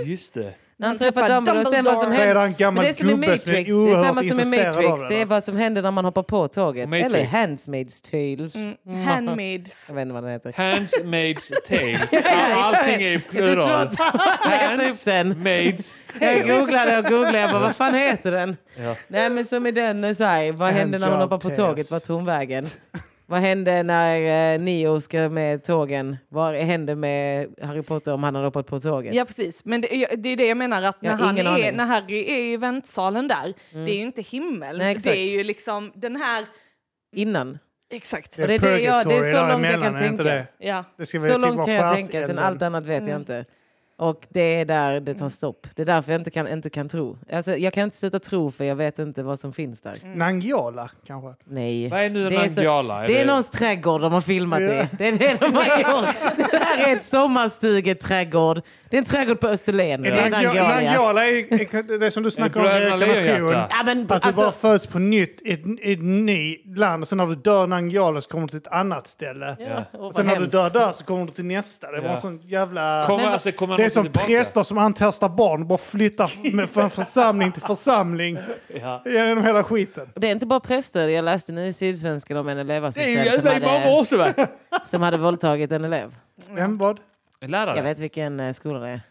Speaker 4: Just det.
Speaker 2: När han träffar Dumbledore. och Sen vad som
Speaker 1: Så är det
Speaker 2: händer.
Speaker 1: en gammal
Speaker 2: Men det är som i
Speaker 1: gubbe
Speaker 2: Matrix.
Speaker 1: som
Speaker 2: Det
Speaker 1: är
Speaker 2: är
Speaker 1: oerhört
Speaker 2: samma som i
Speaker 1: intresserad
Speaker 2: Matrix.
Speaker 1: av
Speaker 2: Det är
Speaker 1: den. alltså.
Speaker 2: vad som händer när man hoppar på tåget.
Speaker 4: Matrix.
Speaker 2: Eller Handsmaids Tales.
Speaker 3: Mm, handmaids.
Speaker 2: Jag vet inte vad den heter.
Speaker 4: Handsmaids tales. Allting är i plural.
Speaker 2: Det är svårt att leta upp den.
Speaker 4: Maids.
Speaker 2: Jag googlade och googlade. Jag bara, vad fan heter den?
Speaker 4: Ja.
Speaker 2: Nej men som i den, eh, så här, vad hände när hon
Speaker 1: Handjob
Speaker 2: hoppar på
Speaker 1: tales.
Speaker 2: tåget? Vart tog hon vägen? Vad hände när eh, Neo ska med tågen? Vad hände med Harry Potter om han hade hoppat på tåget?
Speaker 3: Ja precis, men det, jag- det är det jag menar att
Speaker 2: Jag
Speaker 3: när,
Speaker 2: har
Speaker 3: han
Speaker 2: ingen
Speaker 3: är,
Speaker 2: aning.
Speaker 3: när Harry är i väntsalen där, det är ju inte himmel.
Speaker 2: Nej,
Speaker 3: det
Speaker 2: exakt.
Speaker 3: är ju liksom den här,
Speaker 2: Innan.
Speaker 3: exakt.
Speaker 2: Och det är det jag- det är så
Speaker 1: purgatory
Speaker 2: långt jag
Speaker 1: däremellan,
Speaker 2: kan
Speaker 1: är inte
Speaker 2: tänka.
Speaker 1: det?
Speaker 3: Ja.
Speaker 1: Det ska väl
Speaker 2: Så
Speaker 1: typ
Speaker 2: långt
Speaker 1: vara
Speaker 2: kan jag tänka, sen
Speaker 1: skärselden.
Speaker 2: allt annat vet jag inte. Och det är där det tar stopp. Det är därför jag inte kan, inte kan tro. Alltså, jag kan inte sluta tro för jag vet inte vad som finns där.
Speaker 1: Mm. Nangijala kanske?
Speaker 2: Nej.
Speaker 4: Vad är nu
Speaker 2: Det är så-
Speaker 4: Nangijala?
Speaker 2: Det är någons trädgård de har filmat
Speaker 1: Ja.
Speaker 2: i. Det är det de har gjort. Det här är ett sommarstugeträdgård. Det är en trädgård på Österlen. Det är
Speaker 1: Nangijala
Speaker 2: Nangiala.
Speaker 1: Nangijala är är det som du snackar om
Speaker 4: Bröderna
Speaker 1: reinkarnation.
Speaker 4: Lejonhjärta?
Speaker 2: Ja, men,
Speaker 1: Att du bara
Speaker 2: alltså,
Speaker 1: föds på nytt i ett, i ett nytt land och sen när du dör Nangijala så kommer du till ett annat ställe.
Speaker 2: Ja,
Speaker 1: Och
Speaker 2: och vad
Speaker 1: sen när du
Speaker 2: hemskt.
Speaker 1: dör där så kommer du till nästa. Det var
Speaker 4: Ja.
Speaker 1: en sån jävla...
Speaker 4: Kommer, alltså, kommer
Speaker 1: det är
Speaker 4: någon
Speaker 1: som
Speaker 4: tillbaka?
Speaker 1: präster som antestar barn och bara flyttar med- från församling till församling
Speaker 4: Ja.
Speaker 1: genom hela skiten.
Speaker 2: det är inte bara präster. Jag läste nu i Sydsvenskan om en
Speaker 4: Det är ju
Speaker 2: elevassistent som
Speaker 4: jävla mamma
Speaker 2: hade,
Speaker 4: också va?
Speaker 2: som hade våldtagit en elev.
Speaker 1: Vem vad?
Speaker 2: Jag
Speaker 4: En lärare.
Speaker 2: vet vilken eh, skola det är.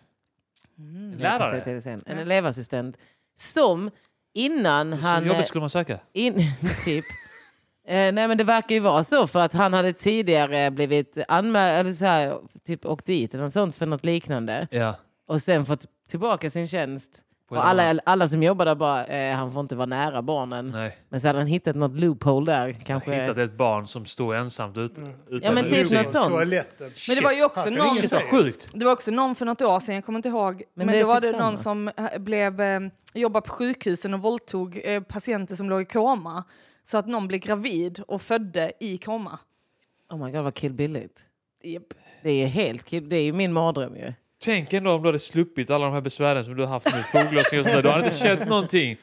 Speaker 2: Jag
Speaker 4: En
Speaker 2: kan säga
Speaker 4: lärare.
Speaker 2: till dig sen. En elevassistent som innan
Speaker 4: Så
Speaker 2: han... eh,
Speaker 4: jobbigt skulle man söka.
Speaker 2: In, typ. Eh, nej men det verkar ju vara så för att han hade tidigare blivit anmäld, eller så här, typ åkt dit eller något sånt för något liknande.
Speaker 4: Ja.
Speaker 2: Och sen fått tillbaka sin tjänst.
Speaker 4: På
Speaker 2: Och
Speaker 4: hela
Speaker 2: alla,
Speaker 4: världen.
Speaker 2: alla som jobbar där bara, eh, han får inte vara nära barnen.
Speaker 4: Nej,
Speaker 2: Men så hade han hittat något loophole där. Kanske.
Speaker 4: hittat ett barn som står ensamt ute. utan
Speaker 2: men typ
Speaker 4: utsikt.
Speaker 2: något sånt.
Speaker 1: Toaletten.
Speaker 3: Men det var ju också
Speaker 1: Shit.
Speaker 3: någon...
Speaker 1: Shit,
Speaker 4: Shit vad sjukt!
Speaker 3: Det var också någon för något år sedan, jag kommer inte ihåg. Men,
Speaker 2: det är
Speaker 3: då var
Speaker 2: typ
Speaker 3: det någon
Speaker 2: samma.
Speaker 3: som eh, blev, eh, jobbade på sjukhusen och våldtog eh, patienter som låg i koma. Så att någon blev gravid och födde i koma.
Speaker 2: Oh my god vad killbilligt.
Speaker 3: Yep.
Speaker 2: Det är helt kill... Det är ju min mardröm ju.
Speaker 4: Tänk ändå om du hade sluppit alla de här besvären som du har haft nu. Foglossning och sånt där. Du hade inte känt någonting.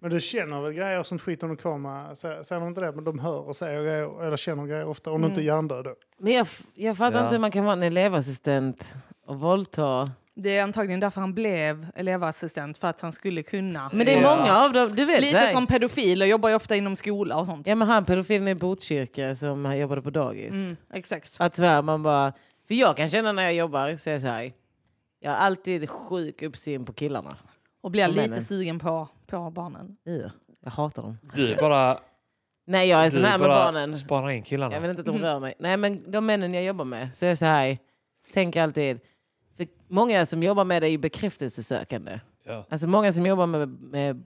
Speaker 1: Men du känner väl grejer och sånt skit om de kommer? Sä- Säger de inte det? Men de hör och säger grejer, eller känner grejer ofta. Om de
Speaker 3: Mm.
Speaker 1: inte är hjärndöda.
Speaker 2: Men jag, f- jag fattar
Speaker 4: Ja.
Speaker 2: inte hur man kan vara en elevassistent och våldta.
Speaker 3: Det är antagligen därför han blev elevassistent, för att han skulle kunna.
Speaker 2: Men det är
Speaker 4: Ja.
Speaker 2: många av dem. Du vet, så
Speaker 3: Lite
Speaker 2: här-
Speaker 3: som pedofiler, jobbar ju ofta inom skola och sånt.
Speaker 2: Ja men han pedofilen i Botkyrka som jobbade på dagis.
Speaker 3: Mm, exakt.
Speaker 2: Att så här, man bara... För jag kan känna när jag jobbar så är jag så här. Jag har alltid sjuk uppsyn på killarna.
Speaker 3: Och blir
Speaker 2: Och
Speaker 3: lite
Speaker 2: männen.
Speaker 3: sugen på, på barnen.
Speaker 2: Ugh, Jag hatar dem.
Speaker 4: Du bara,
Speaker 2: Nej jag är
Speaker 4: du
Speaker 2: sån här med
Speaker 4: bara
Speaker 2: barnen.
Speaker 4: spanar in killarna.
Speaker 2: Jag vill inte att de rör mig. Nej men de männen jag jobbar med så är jag så här. Tänker alltid. För många som jobbar med det är ju bekräftelsesökande.
Speaker 4: Ja.
Speaker 2: Alltså många som jobbar med, med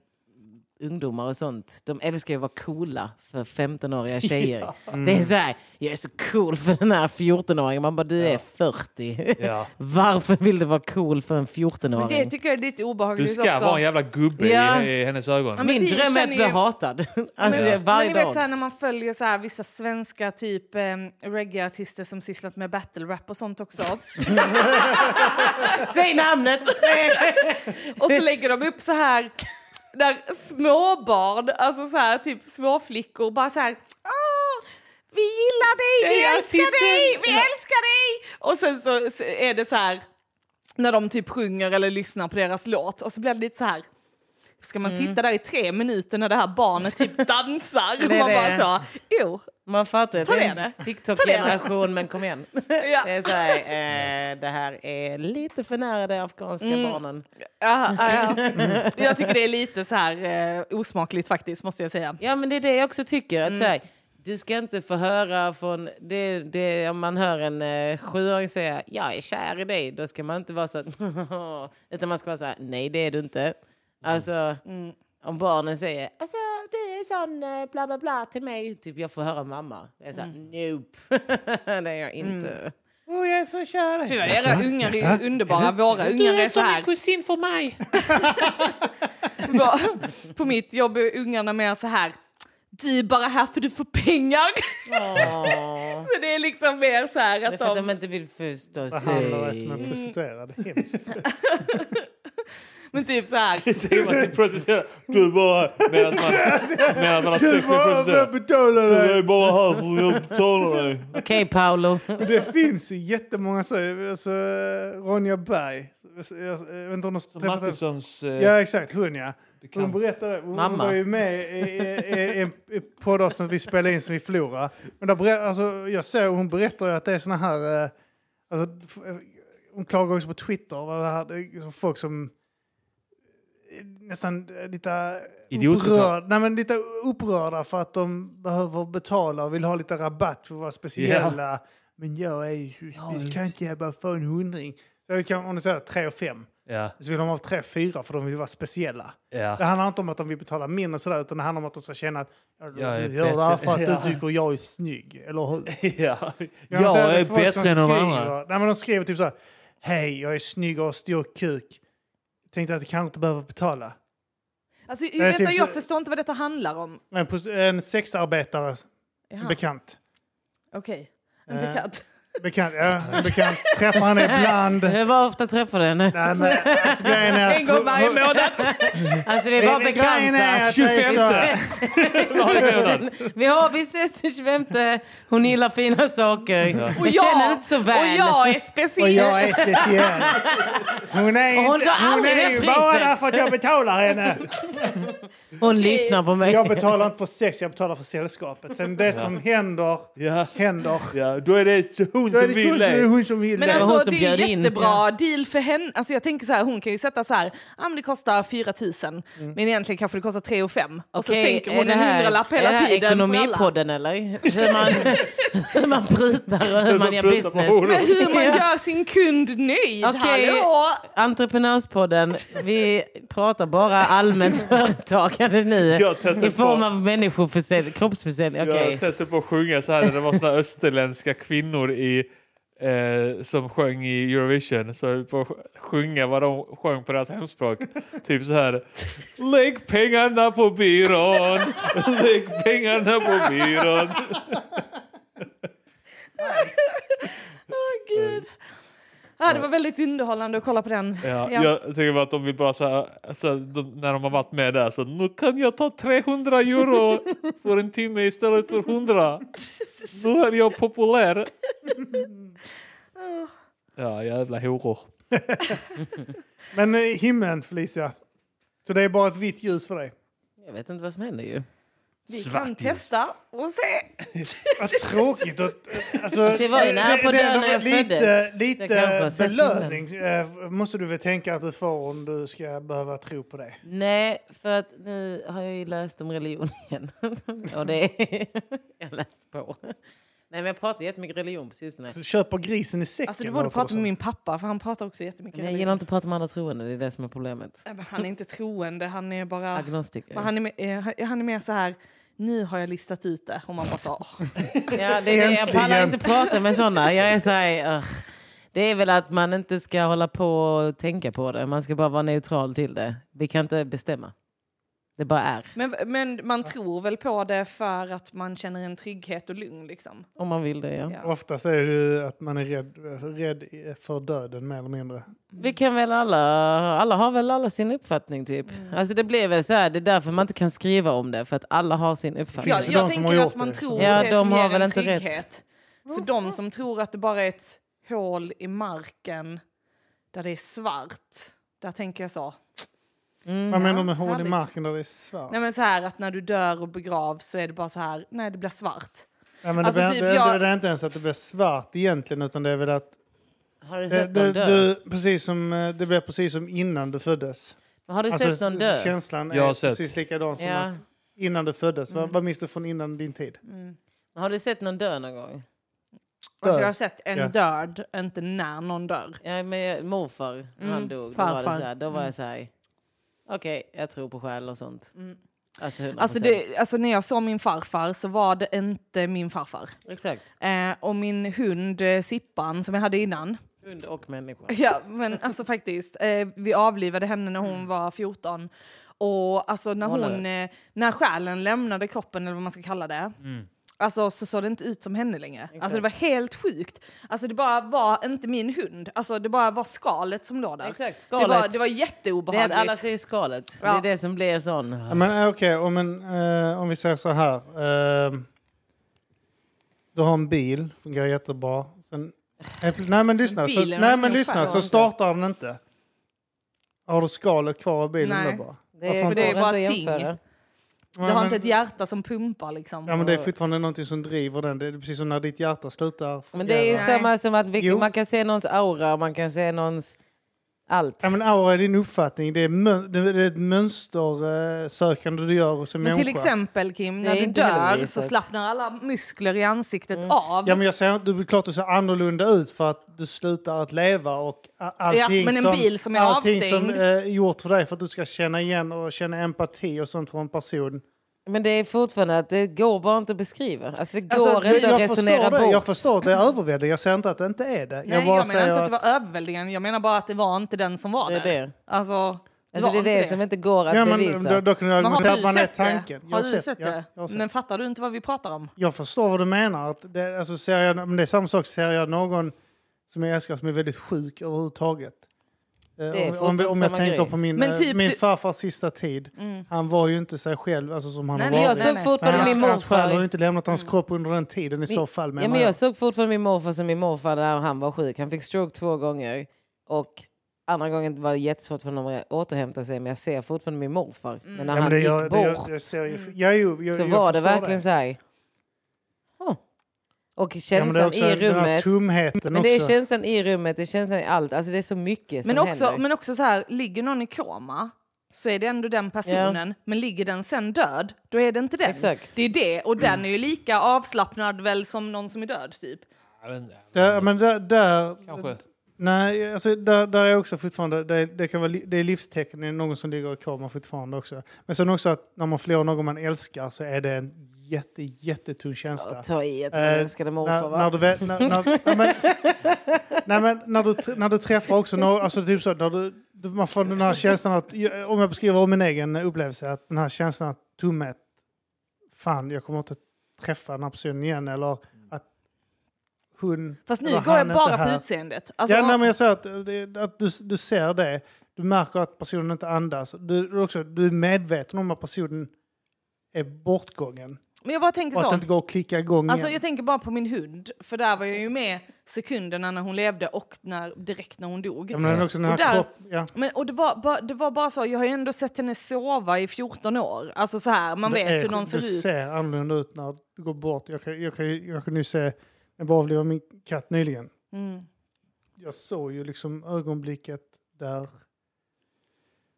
Speaker 2: ungdomar och sånt, de älskar ju att vara coola för 15-åriga tjejer. Det är så här, jag är så cool för den här 14-åringen. Man bara, du är 40.
Speaker 4: Ja.
Speaker 2: Varför vill du vara cool för en 14-åring?
Speaker 3: Det tycker jag är lite
Speaker 4: Du
Speaker 3: obehagligt
Speaker 4: ska
Speaker 3: också.
Speaker 4: vara en jävla gubbe
Speaker 2: Ja.
Speaker 4: i, i hennes ögon.
Speaker 3: Ja, men
Speaker 2: Min
Speaker 3: vi
Speaker 2: dröm är att
Speaker 3: känner
Speaker 2: bli
Speaker 3: ju-
Speaker 2: hatad. Alltså,
Speaker 3: men, men
Speaker 2: varje
Speaker 3: ni vet
Speaker 2: dag.
Speaker 3: så här, när man följer så här, vissa svenska typ eh, reggae-artister som sysslat med battle rap och sånt också.
Speaker 2: Säg namnet!
Speaker 3: och så lägger de upp så här där småbarn, alltså så här typ småflickor bara så här Åh, vi gillar dig, vi
Speaker 2: Jag är
Speaker 3: älskar
Speaker 2: artisten."
Speaker 3: dig, vi älskar dig! Och sen så så är det så här när de typ sjunger eller lyssnar på deras låt och så blir det lite så här Ska man
Speaker 2: Mm.
Speaker 3: titta där i tre minuter när det här barnet typ dansar? och
Speaker 2: är
Speaker 3: man bara
Speaker 2: det.
Speaker 3: så, jo,
Speaker 2: Man fattar ju att
Speaker 3: Ta
Speaker 2: det
Speaker 3: ner
Speaker 2: är en
Speaker 3: det.
Speaker 2: TikTok-generation, men kom igen.
Speaker 3: Ja.
Speaker 2: Det, är så här, eh, det här är lite för nära de afghanska
Speaker 3: Mm.
Speaker 2: barnen.
Speaker 3: Ja, ja, ja. Mm. Jag tycker det är lite så här eh, osmakligt faktiskt, måste jag säga.
Speaker 2: Ja, men det är det jag också tycker. Att, så här, du ska inte få höra från... Det, det, om man hör en eh, sjuåring säga jag är kär i dig, då ska man inte vara så... att- utan man ska vara så här, nej det är du inte. Alltså, om barnen säger alltså, du är sån eh, bla bla bla till mig, typ jag får höra mamma. Jag är så här, nope, det är jag inte. Åh, jag är så kär i dig.
Speaker 3: Era ungar är ju underbara, våra ungar är så här.
Speaker 2: kusin för mig.
Speaker 3: Va- På mitt jobb är ungarna mer så här, du är bara här för du får pengar.
Speaker 2: Åh,
Speaker 3: Så det är liksom mer så här
Speaker 2: det är
Speaker 3: att
Speaker 2: för att de
Speaker 3: de...
Speaker 2: inte vill förstå
Speaker 1: Behandlar dig som en
Speaker 2: sig.
Speaker 1: prostituerad. Hemskt.
Speaker 3: Men typ så här,
Speaker 4: Säger man till prostituerade, du är bara här. Medan man, medan man har sex med prostituerade.
Speaker 1: betalar
Speaker 4: Du är bara här för att jag betalar dig.
Speaker 2: Okej Paolo.
Speaker 1: Det finns ju jättemånga så. Alltså, Ronja Berg. Jag vet inte om du har träffat henne.
Speaker 4: Mattissons... eh,
Speaker 1: Ja, exakt. Hon, ja. Hon
Speaker 4: Bekant.
Speaker 1: berättade, hon
Speaker 2: Mamma.
Speaker 1: var ju med i, i, i, i, i poddavsnitt vi spelade in som vi förlorade. Men där berä, alltså, jag ser, hon berättar ju att det är såna här... eh, Alltså, f- eh, hon klagar också på Twitter. Vad det här, det är liksom folk som eh, nästan eh, lite
Speaker 4: Idioter.
Speaker 1: upprörda, nej, men lite upprörda för att de behöver betala och vill ha lite rabatt för att vara speciella. Men jag är ju... Jag kan inte jag bara få en hundring. Så jag kan, om du säger tre och fem.
Speaker 4: Ja,
Speaker 1: Så vill de ha tre, fyra för de vill vara speciella. Det
Speaker 4: ja.
Speaker 1: handlar inte om att de vill betala mindre och sådär, utan det handlar om att de ska känna att ja, du
Speaker 4: Jag är
Speaker 1: gör det här
Speaker 4: bättre.
Speaker 1: för att
Speaker 4: Ja.
Speaker 1: du tycker jag är snygg, eller hur?
Speaker 4: ja.
Speaker 1: men så det
Speaker 4: Jag är
Speaker 1: folk som
Speaker 4: bättre än de andra.
Speaker 1: skriver- Nej, men de skriver typ så här, hej, jag är snygg och har stor kuk. Tänkte att jag kanske inte behöver betala.
Speaker 3: alltså,
Speaker 1: är
Speaker 3: vänta,
Speaker 1: typ så-
Speaker 3: jag förstår inte vad detta handlar om.
Speaker 1: En, pos- en sexarbetare,
Speaker 3: Jaha,
Speaker 1: bekant.
Speaker 3: Okej, en
Speaker 1: Eh.
Speaker 3: bekant.
Speaker 1: Bekant, ja, bekant. Träffar henne ibland.
Speaker 2: Hur var ofta träffar du henne?
Speaker 1: Nej, men, alltså, grejen är att-
Speaker 3: En gång varje månad.
Speaker 2: Alltså det är bara
Speaker 1: Grejen är
Speaker 2: bekanta.
Speaker 1: att det är så här-
Speaker 2: Vi, har, vi ses den 25. Hon gillar fina saker.
Speaker 3: Och
Speaker 2: Jag känner
Speaker 3: jag,
Speaker 2: inte så
Speaker 3: och
Speaker 2: väl.
Speaker 3: jag är
Speaker 1: Och
Speaker 3: speciell.
Speaker 1: jag är speciell. Hon är,
Speaker 2: Hon
Speaker 1: inte,
Speaker 2: tar
Speaker 1: hon
Speaker 2: aldrig
Speaker 1: är
Speaker 2: det
Speaker 1: ju bara
Speaker 2: priset.
Speaker 1: där för att jag betalar henne.
Speaker 2: Hon lyssnar på mig.
Speaker 1: Jag betalar inte för sex, jag betalar för sällskapet. Sen det som händer,
Speaker 4: Ja.
Speaker 1: händer.
Speaker 4: Ja, då är det hon
Speaker 1: Då är
Speaker 4: som
Speaker 1: det kul,
Speaker 4: vill
Speaker 1: det är
Speaker 4: det.
Speaker 1: hon som vill
Speaker 3: Men
Speaker 1: det.
Speaker 2: var hon
Speaker 3: alltså
Speaker 2: som
Speaker 3: det är
Speaker 2: bjöd in,
Speaker 3: jättebra deal för henne. Alltså jag tänker så här, hon kan ju sätta så här, ah, men det kostar 4 000 men egentligen kanske det kostar 3 och 5. Och så
Speaker 2: Mm. Okej,
Speaker 3: sänker
Speaker 2: är
Speaker 3: hon
Speaker 2: det
Speaker 3: en
Speaker 2: här-
Speaker 3: hundralapp
Speaker 2: är
Speaker 3: hela
Speaker 2: det här
Speaker 3: tiden för alla.
Speaker 2: Ekonomipodden eller? Så man, hur man prutar och hur man
Speaker 4: man
Speaker 2: gör
Speaker 4: prutar på
Speaker 2: business.
Speaker 4: horor.
Speaker 3: Men hur man
Speaker 2: Ja.
Speaker 3: gör sin kund nöjd,
Speaker 2: Okej.
Speaker 3: hallå!
Speaker 2: Entreprenörspodden, vi pratar bara allmänt företagande nu.
Speaker 4: Jag testar
Speaker 2: I form
Speaker 4: på-
Speaker 2: av människoförsäljning, kroppsförsäljning. Okej.
Speaker 4: Jag testade på att sjunga så här när det var såna österländska kvinnor i, eh, som sjöng i Eurovision. Så jag höll på att sjunga vad de sjöng på deras hemspråk. typ så här. Lägg pengarna på byrån! Lägg pengarna på byrån!
Speaker 3: Åh, Gud. Ja, det var väldigt underhållande att kolla på den.
Speaker 4: Ja,
Speaker 3: Ja.
Speaker 4: Jag tycker bara att de vill bara så här, så här, de, när de har varit med där så nu kan jag ta 300 euro för en timme istället för 100. Nu är jag populär. Ja, jävla horor.
Speaker 1: Men eh, himlen, Felicia. Så det är bara ett vitt ljus för dig.
Speaker 2: Jag vet inte vad som händer ju.
Speaker 3: Vi
Speaker 4: Svart
Speaker 3: kan
Speaker 4: ljus.
Speaker 3: testa och se.
Speaker 1: Vad tråkigt. Och, alltså,
Speaker 2: Alltså, jag var ju nära på att dö
Speaker 1: ändå
Speaker 2: när jag
Speaker 1: lite,
Speaker 2: föddes. Så jag kanske har
Speaker 1: lite
Speaker 2: sett
Speaker 1: belöning eh, måste du väl tänka att du får om du ska behöva tro på det.
Speaker 2: Nej, för att nu har jag ju läst om religion igen. Och det är... Jag har läst på. Nej, men jag pratar jättemycket religion på sistone.
Speaker 1: Du köper grisen i säcken.
Speaker 3: Alltså, du borde
Speaker 1: låter det
Speaker 3: prata
Speaker 1: som.
Speaker 3: med min pappa, för han pratar också jättemycket.
Speaker 2: Men jag
Speaker 3: religion.
Speaker 2: gillar inte att prata med andra troende, det är det som är problemet.
Speaker 3: Nej, men Han är inte troende, han är bara...
Speaker 2: Agnostiker.
Speaker 3: Men han, är, mer- eh, han är mer så här, nu har jag listat ut det. Och man bara så, "Ah." "Åh."
Speaker 2: Ja, det är det. Jag pallar
Speaker 1: Äntligen.
Speaker 2: inte prata med såna. Jag är så här, "Ugh." Det är väl att man inte ska hålla på och tänka på det. Man ska bara vara neutral till det. Vi kan inte bestämma. Det bara är,
Speaker 3: men, men man tror väl på det för att man känner en trygghet och lugn liksom.
Speaker 2: om man vill det. Ja.
Speaker 3: Ja.
Speaker 1: Oftast är det ju att man är rädd, alltså rädd för döden mer eller mindre.
Speaker 2: Vi kan väl alla, alla har väl alla sin uppfattning typ.
Speaker 3: Mm.
Speaker 2: Alltså det blir väl så här, det är därför man inte kan skriva om det. För att alla har sin uppfattning.
Speaker 3: Ja,
Speaker 1: Finns det
Speaker 3: jag
Speaker 1: de som
Speaker 3: tänker
Speaker 1: har
Speaker 3: att
Speaker 1: gjort
Speaker 3: man
Speaker 1: det?
Speaker 3: tror på
Speaker 2: Ja,
Speaker 3: det
Speaker 2: de
Speaker 3: som
Speaker 2: har
Speaker 3: ger
Speaker 2: väl
Speaker 3: en
Speaker 2: inte rätt.
Speaker 3: trygghet. Så de som tror att det bara är ett hål i marken där det är svart, där tänker jag så.
Speaker 1: Vad menar du med hål i
Speaker 3: Mm, härligt.
Speaker 1: marken där det är svart?
Speaker 3: Nej men så här att när du dör och begravs så är det bara så här, nej det blir svart.
Speaker 1: Nej, men det,
Speaker 3: alltså
Speaker 1: blir,
Speaker 3: typ
Speaker 1: det,
Speaker 3: jag-
Speaker 1: det är inte ens att det blir svart egentligen utan det är väl att
Speaker 2: Har du
Speaker 3: Eh,
Speaker 1: det,
Speaker 2: sett
Speaker 1: det,
Speaker 2: någon dö?
Speaker 1: du, precis som, eh, det blir precis som innan du föddes. Alltså,
Speaker 2: Har
Speaker 3: alltså,
Speaker 2: du sett någon
Speaker 1: s-
Speaker 2: dö?
Speaker 1: känslan
Speaker 4: Jag har
Speaker 1: är
Speaker 4: sett.
Speaker 1: precis likadan som
Speaker 2: Ja.
Speaker 1: att innan du föddes.
Speaker 3: Mm.
Speaker 1: Vad, vad minns du från innan din tid?
Speaker 2: Har du sett någon dö någon gång?
Speaker 3: Alltså,
Speaker 1: Död.
Speaker 3: jag har sett en
Speaker 1: Ja.
Speaker 3: död, inte när någon dör.
Speaker 2: Ja, men jag, morfar, när han
Speaker 3: Mm,
Speaker 2: dog. Då var,
Speaker 3: farfar. Mm.
Speaker 2: det så här, då var jag så här, okej, jag tror på själ och sånt.
Speaker 3: Mm.
Speaker 2: Alltså 100%.
Speaker 3: Alltså, det, alltså när jag såg min farfar så var det inte min farfar.
Speaker 2: Exakt.
Speaker 3: Eh, och min hund eh, Sippan som jag hade innan.
Speaker 2: Hund och människa.
Speaker 3: Ja men alltså faktiskt. Eh, vi avlivade henne när hon var 14. Och alltså när
Speaker 2: Månader.
Speaker 3: hon, eh, när själen lämnade kroppen eller vad man ska kalla det.
Speaker 2: Mm.
Speaker 3: Alltså så såg det inte ut som henne längre. Alltså det var helt sjukt. Alltså det bara var inte min hund. Alltså det bara var skalet som låg där.
Speaker 2: Exakt,
Speaker 3: Det var,
Speaker 2: skalet.
Speaker 3: det var
Speaker 2: Det är att
Speaker 3: jätteobehagligt.
Speaker 2: alla ser skalet. Det
Speaker 3: Ja.
Speaker 2: är det som blir sån.
Speaker 1: Ja, men eh, okej, om, en, eh, om vi säger så här. Eh, du har en bil, fungerar jättebra. Sen, eh, nej men lyssna, så,
Speaker 3: Bilen
Speaker 1: nej,
Speaker 3: har
Speaker 1: men
Speaker 3: ingen
Speaker 1: lyssna,
Speaker 3: skärm.
Speaker 1: så startar den inte. Har du skalet kvar av bilen
Speaker 3: Nej.
Speaker 1: då bara?
Speaker 2: Det
Speaker 1: Varför
Speaker 2: är,
Speaker 1: inte?
Speaker 3: det är
Speaker 2: går
Speaker 3: bara
Speaker 2: inte att
Speaker 3: ting.
Speaker 2: jämföra.
Speaker 3: Du har inte ett hjärta som pumpar liksom.
Speaker 1: Ja men det är fortfarande någonting som driver den. Det är precis som när ditt hjärta slutar.
Speaker 2: Men det är ju
Speaker 3: Nej.
Speaker 2: samma som att vi,
Speaker 1: Jo.
Speaker 2: man kan se någons aura, man kan se någons allt.
Speaker 1: Ja, men aura är din uppfattning. Det är, mö- det är ett mönstersökande du gör som
Speaker 3: Men till
Speaker 1: människa.
Speaker 3: exempel Kim, när
Speaker 2: är
Speaker 3: du
Speaker 2: inte heller
Speaker 3: dör så
Speaker 2: bevisat.
Speaker 3: slappnar alla muskler i ansiktet av.
Speaker 1: Ja, men jag säger, du, klart du ser annorlunda ut för att du slutar att leva och a- allting,
Speaker 3: Ja, men en
Speaker 1: som,
Speaker 3: bil som är
Speaker 1: allting som
Speaker 3: avstängd.
Speaker 1: eh, är gjort för dig för att du ska känna igen och känna empati och sånt för en person.
Speaker 2: Men det är fortfarande att det går bara inte att beskriva. Alltså det går
Speaker 3: Alltså,
Speaker 2: inte att
Speaker 1: jag,
Speaker 2: resonera
Speaker 1: förstår det, jag
Speaker 2: bort.
Speaker 1: förstår att det är överväldigande. Jag säger inte att det inte är det.
Speaker 3: Nej, jag, menar inte att det var överväldigande, jag menar bara att det var inte den som var
Speaker 2: Det är
Speaker 3: där.
Speaker 2: det.
Speaker 3: Alltså, det
Speaker 2: Alltså
Speaker 3: var
Speaker 2: det är
Speaker 3: inte
Speaker 2: det som inte går att
Speaker 1: Ja, men,
Speaker 2: bevisa.
Speaker 1: då, då kunde jag
Speaker 3: Men har
Speaker 1: argumentera att man
Speaker 3: du
Speaker 1: är
Speaker 3: sett det?
Speaker 1: tanken. Jag
Speaker 3: Har du sett
Speaker 1: ja,
Speaker 3: det?
Speaker 1: jag har sett.
Speaker 3: Men fattar du inte vad vi pratar om?
Speaker 1: Jag förstår vad du menar. Att det, alltså, ser jag, men det är samma sak, ser jag någon som jag älskar som är väldigt sjuk överhuvudtaget. Eh,
Speaker 2: är
Speaker 1: om, om, om jag
Speaker 2: fortfarande
Speaker 1: tänker
Speaker 2: samma
Speaker 1: på min,
Speaker 3: Men
Speaker 1: eh,
Speaker 3: typ
Speaker 1: min
Speaker 3: du-
Speaker 1: farfars sista tid. Han var ju inte sig själv alltså, som han
Speaker 3: Nej,
Speaker 1: har
Speaker 3: men
Speaker 2: Men
Speaker 1: varit.
Speaker 2: Mm. jag
Speaker 3: Nej,
Speaker 2: såg
Speaker 3: nej.
Speaker 2: fortfarande
Speaker 1: hans,
Speaker 2: min
Speaker 1: hans själ har ju
Speaker 2: morfar. Mm.
Speaker 1: inte lämnat hans kropp under den tiden i så fall.
Speaker 2: Ja,
Speaker 1: menar
Speaker 2: men jag såg fortfarande min morfar som min morfar när han var sjuk. Han fick stroke två gånger. Och andra gången var det jättesvårt för honom att återhämta sig. Men jag ser fortfarande min morfar. Men när
Speaker 1: Ja, men
Speaker 2: han
Speaker 1: det
Speaker 2: gick
Speaker 1: gör- det
Speaker 2: bort
Speaker 1: gör- jag ser ju- ja, jo, jag-
Speaker 2: så
Speaker 1: jag
Speaker 2: var det
Speaker 1: förstår
Speaker 2: verkligen så här. "Huh." Och
Speaker 1: Ja, men det är
Speaker 2: känslan
Speaker 1: också
Speaker 2: i
Speaker 1: Den här
Speaker 2: rummet.
Speaker 1: tumheten
Speaker 2: Men det är
Speaker 1: också.
Speaker 2: känslan i rummet, det är känslan i allt. Alltså det är så mycket som
Speaker 3: Men också,
Speaker 2: händer.
Speaker 3: men också så här, ligger någon i koma så är det ändå den personen. Men ligger den sen död, då är det inte den.
Speaker 2: Exakt.
Speaker 3: Det är det, och den är ju lika avslappnad väl som någon som är död typ.
Speaker 1: Där, men där, där,
Speaker 4: Kanske.
Speaker 1: nej, alltså, där, där är också fortfarande, det, det, kan vara, li- det är livstecken, det är någon som ligger i koma fortfarande också. Men sen också att när man förlorar någon man älskar så är det en jätte, jättetung känsla.
Speaker 2: Ta i att man
Speaker 1: Eh,
Speaker 2: älskade morfar
Speaker 1: När,
Speaker 2: va?
Speaker 1: när, du, vä- när, när, nej, men, nej, men, när, du, tr- när du träffar också några, alltså typ så, när du, du- man får den här känslan att, om jag beskriver om min egen upplevelse, att den här känslan att tummet, fan jag kommer inte träffa den här personen igen eller att hon
Speaker 3: Fast nu
Speaker 1: eller
Speaker 3: går jag
Speaker 1: han är
Speaker 3: bara
Speaker 1: inte
Speaker 3: på
Speaker 1: här.
Speaker 3: utseendet. Alltså,
Speaker 1: ja, nej, men jag säger att, det, att du, du ser det, du märker att personen inte andas, du, du, också, du är medveten om att personen är bortgången
Speaker 3: men jag bara tänker
Speaker 1: och att det
Speaker 3: så.
Speaker 1: inte går att klicka igång
Speaker 3: Alltså,
Speaker 1: igen.
Speaker 3: jag tänker bara på min hund, för där var jag ju med sekunderna när hon levde och när, direkt när hon dog.
Speaker 1: Ja, men också den här
Speaker 3: Och där-
Speaker 1: kropp, ja.
Speaker 3: Men, och det var, ba, det var bara så, jag har ju ändå sett henne sova i 14 år. Alltså så här, man
Speaker 1: Det
Speaker 3: vet
Speaker 1: är-
Speaker 3: hur någon ser
Speaker 1: Det
Speaker 3: ut.
Speaker 1: ser annorlunda ut när du går bort. Jag, kan, jag, kan, jag kunde ju se, jag var avlivad min katt nyligen.
Speaker 3: Mm.
Speaker 1: Jag såg ju liksom ögonblicket där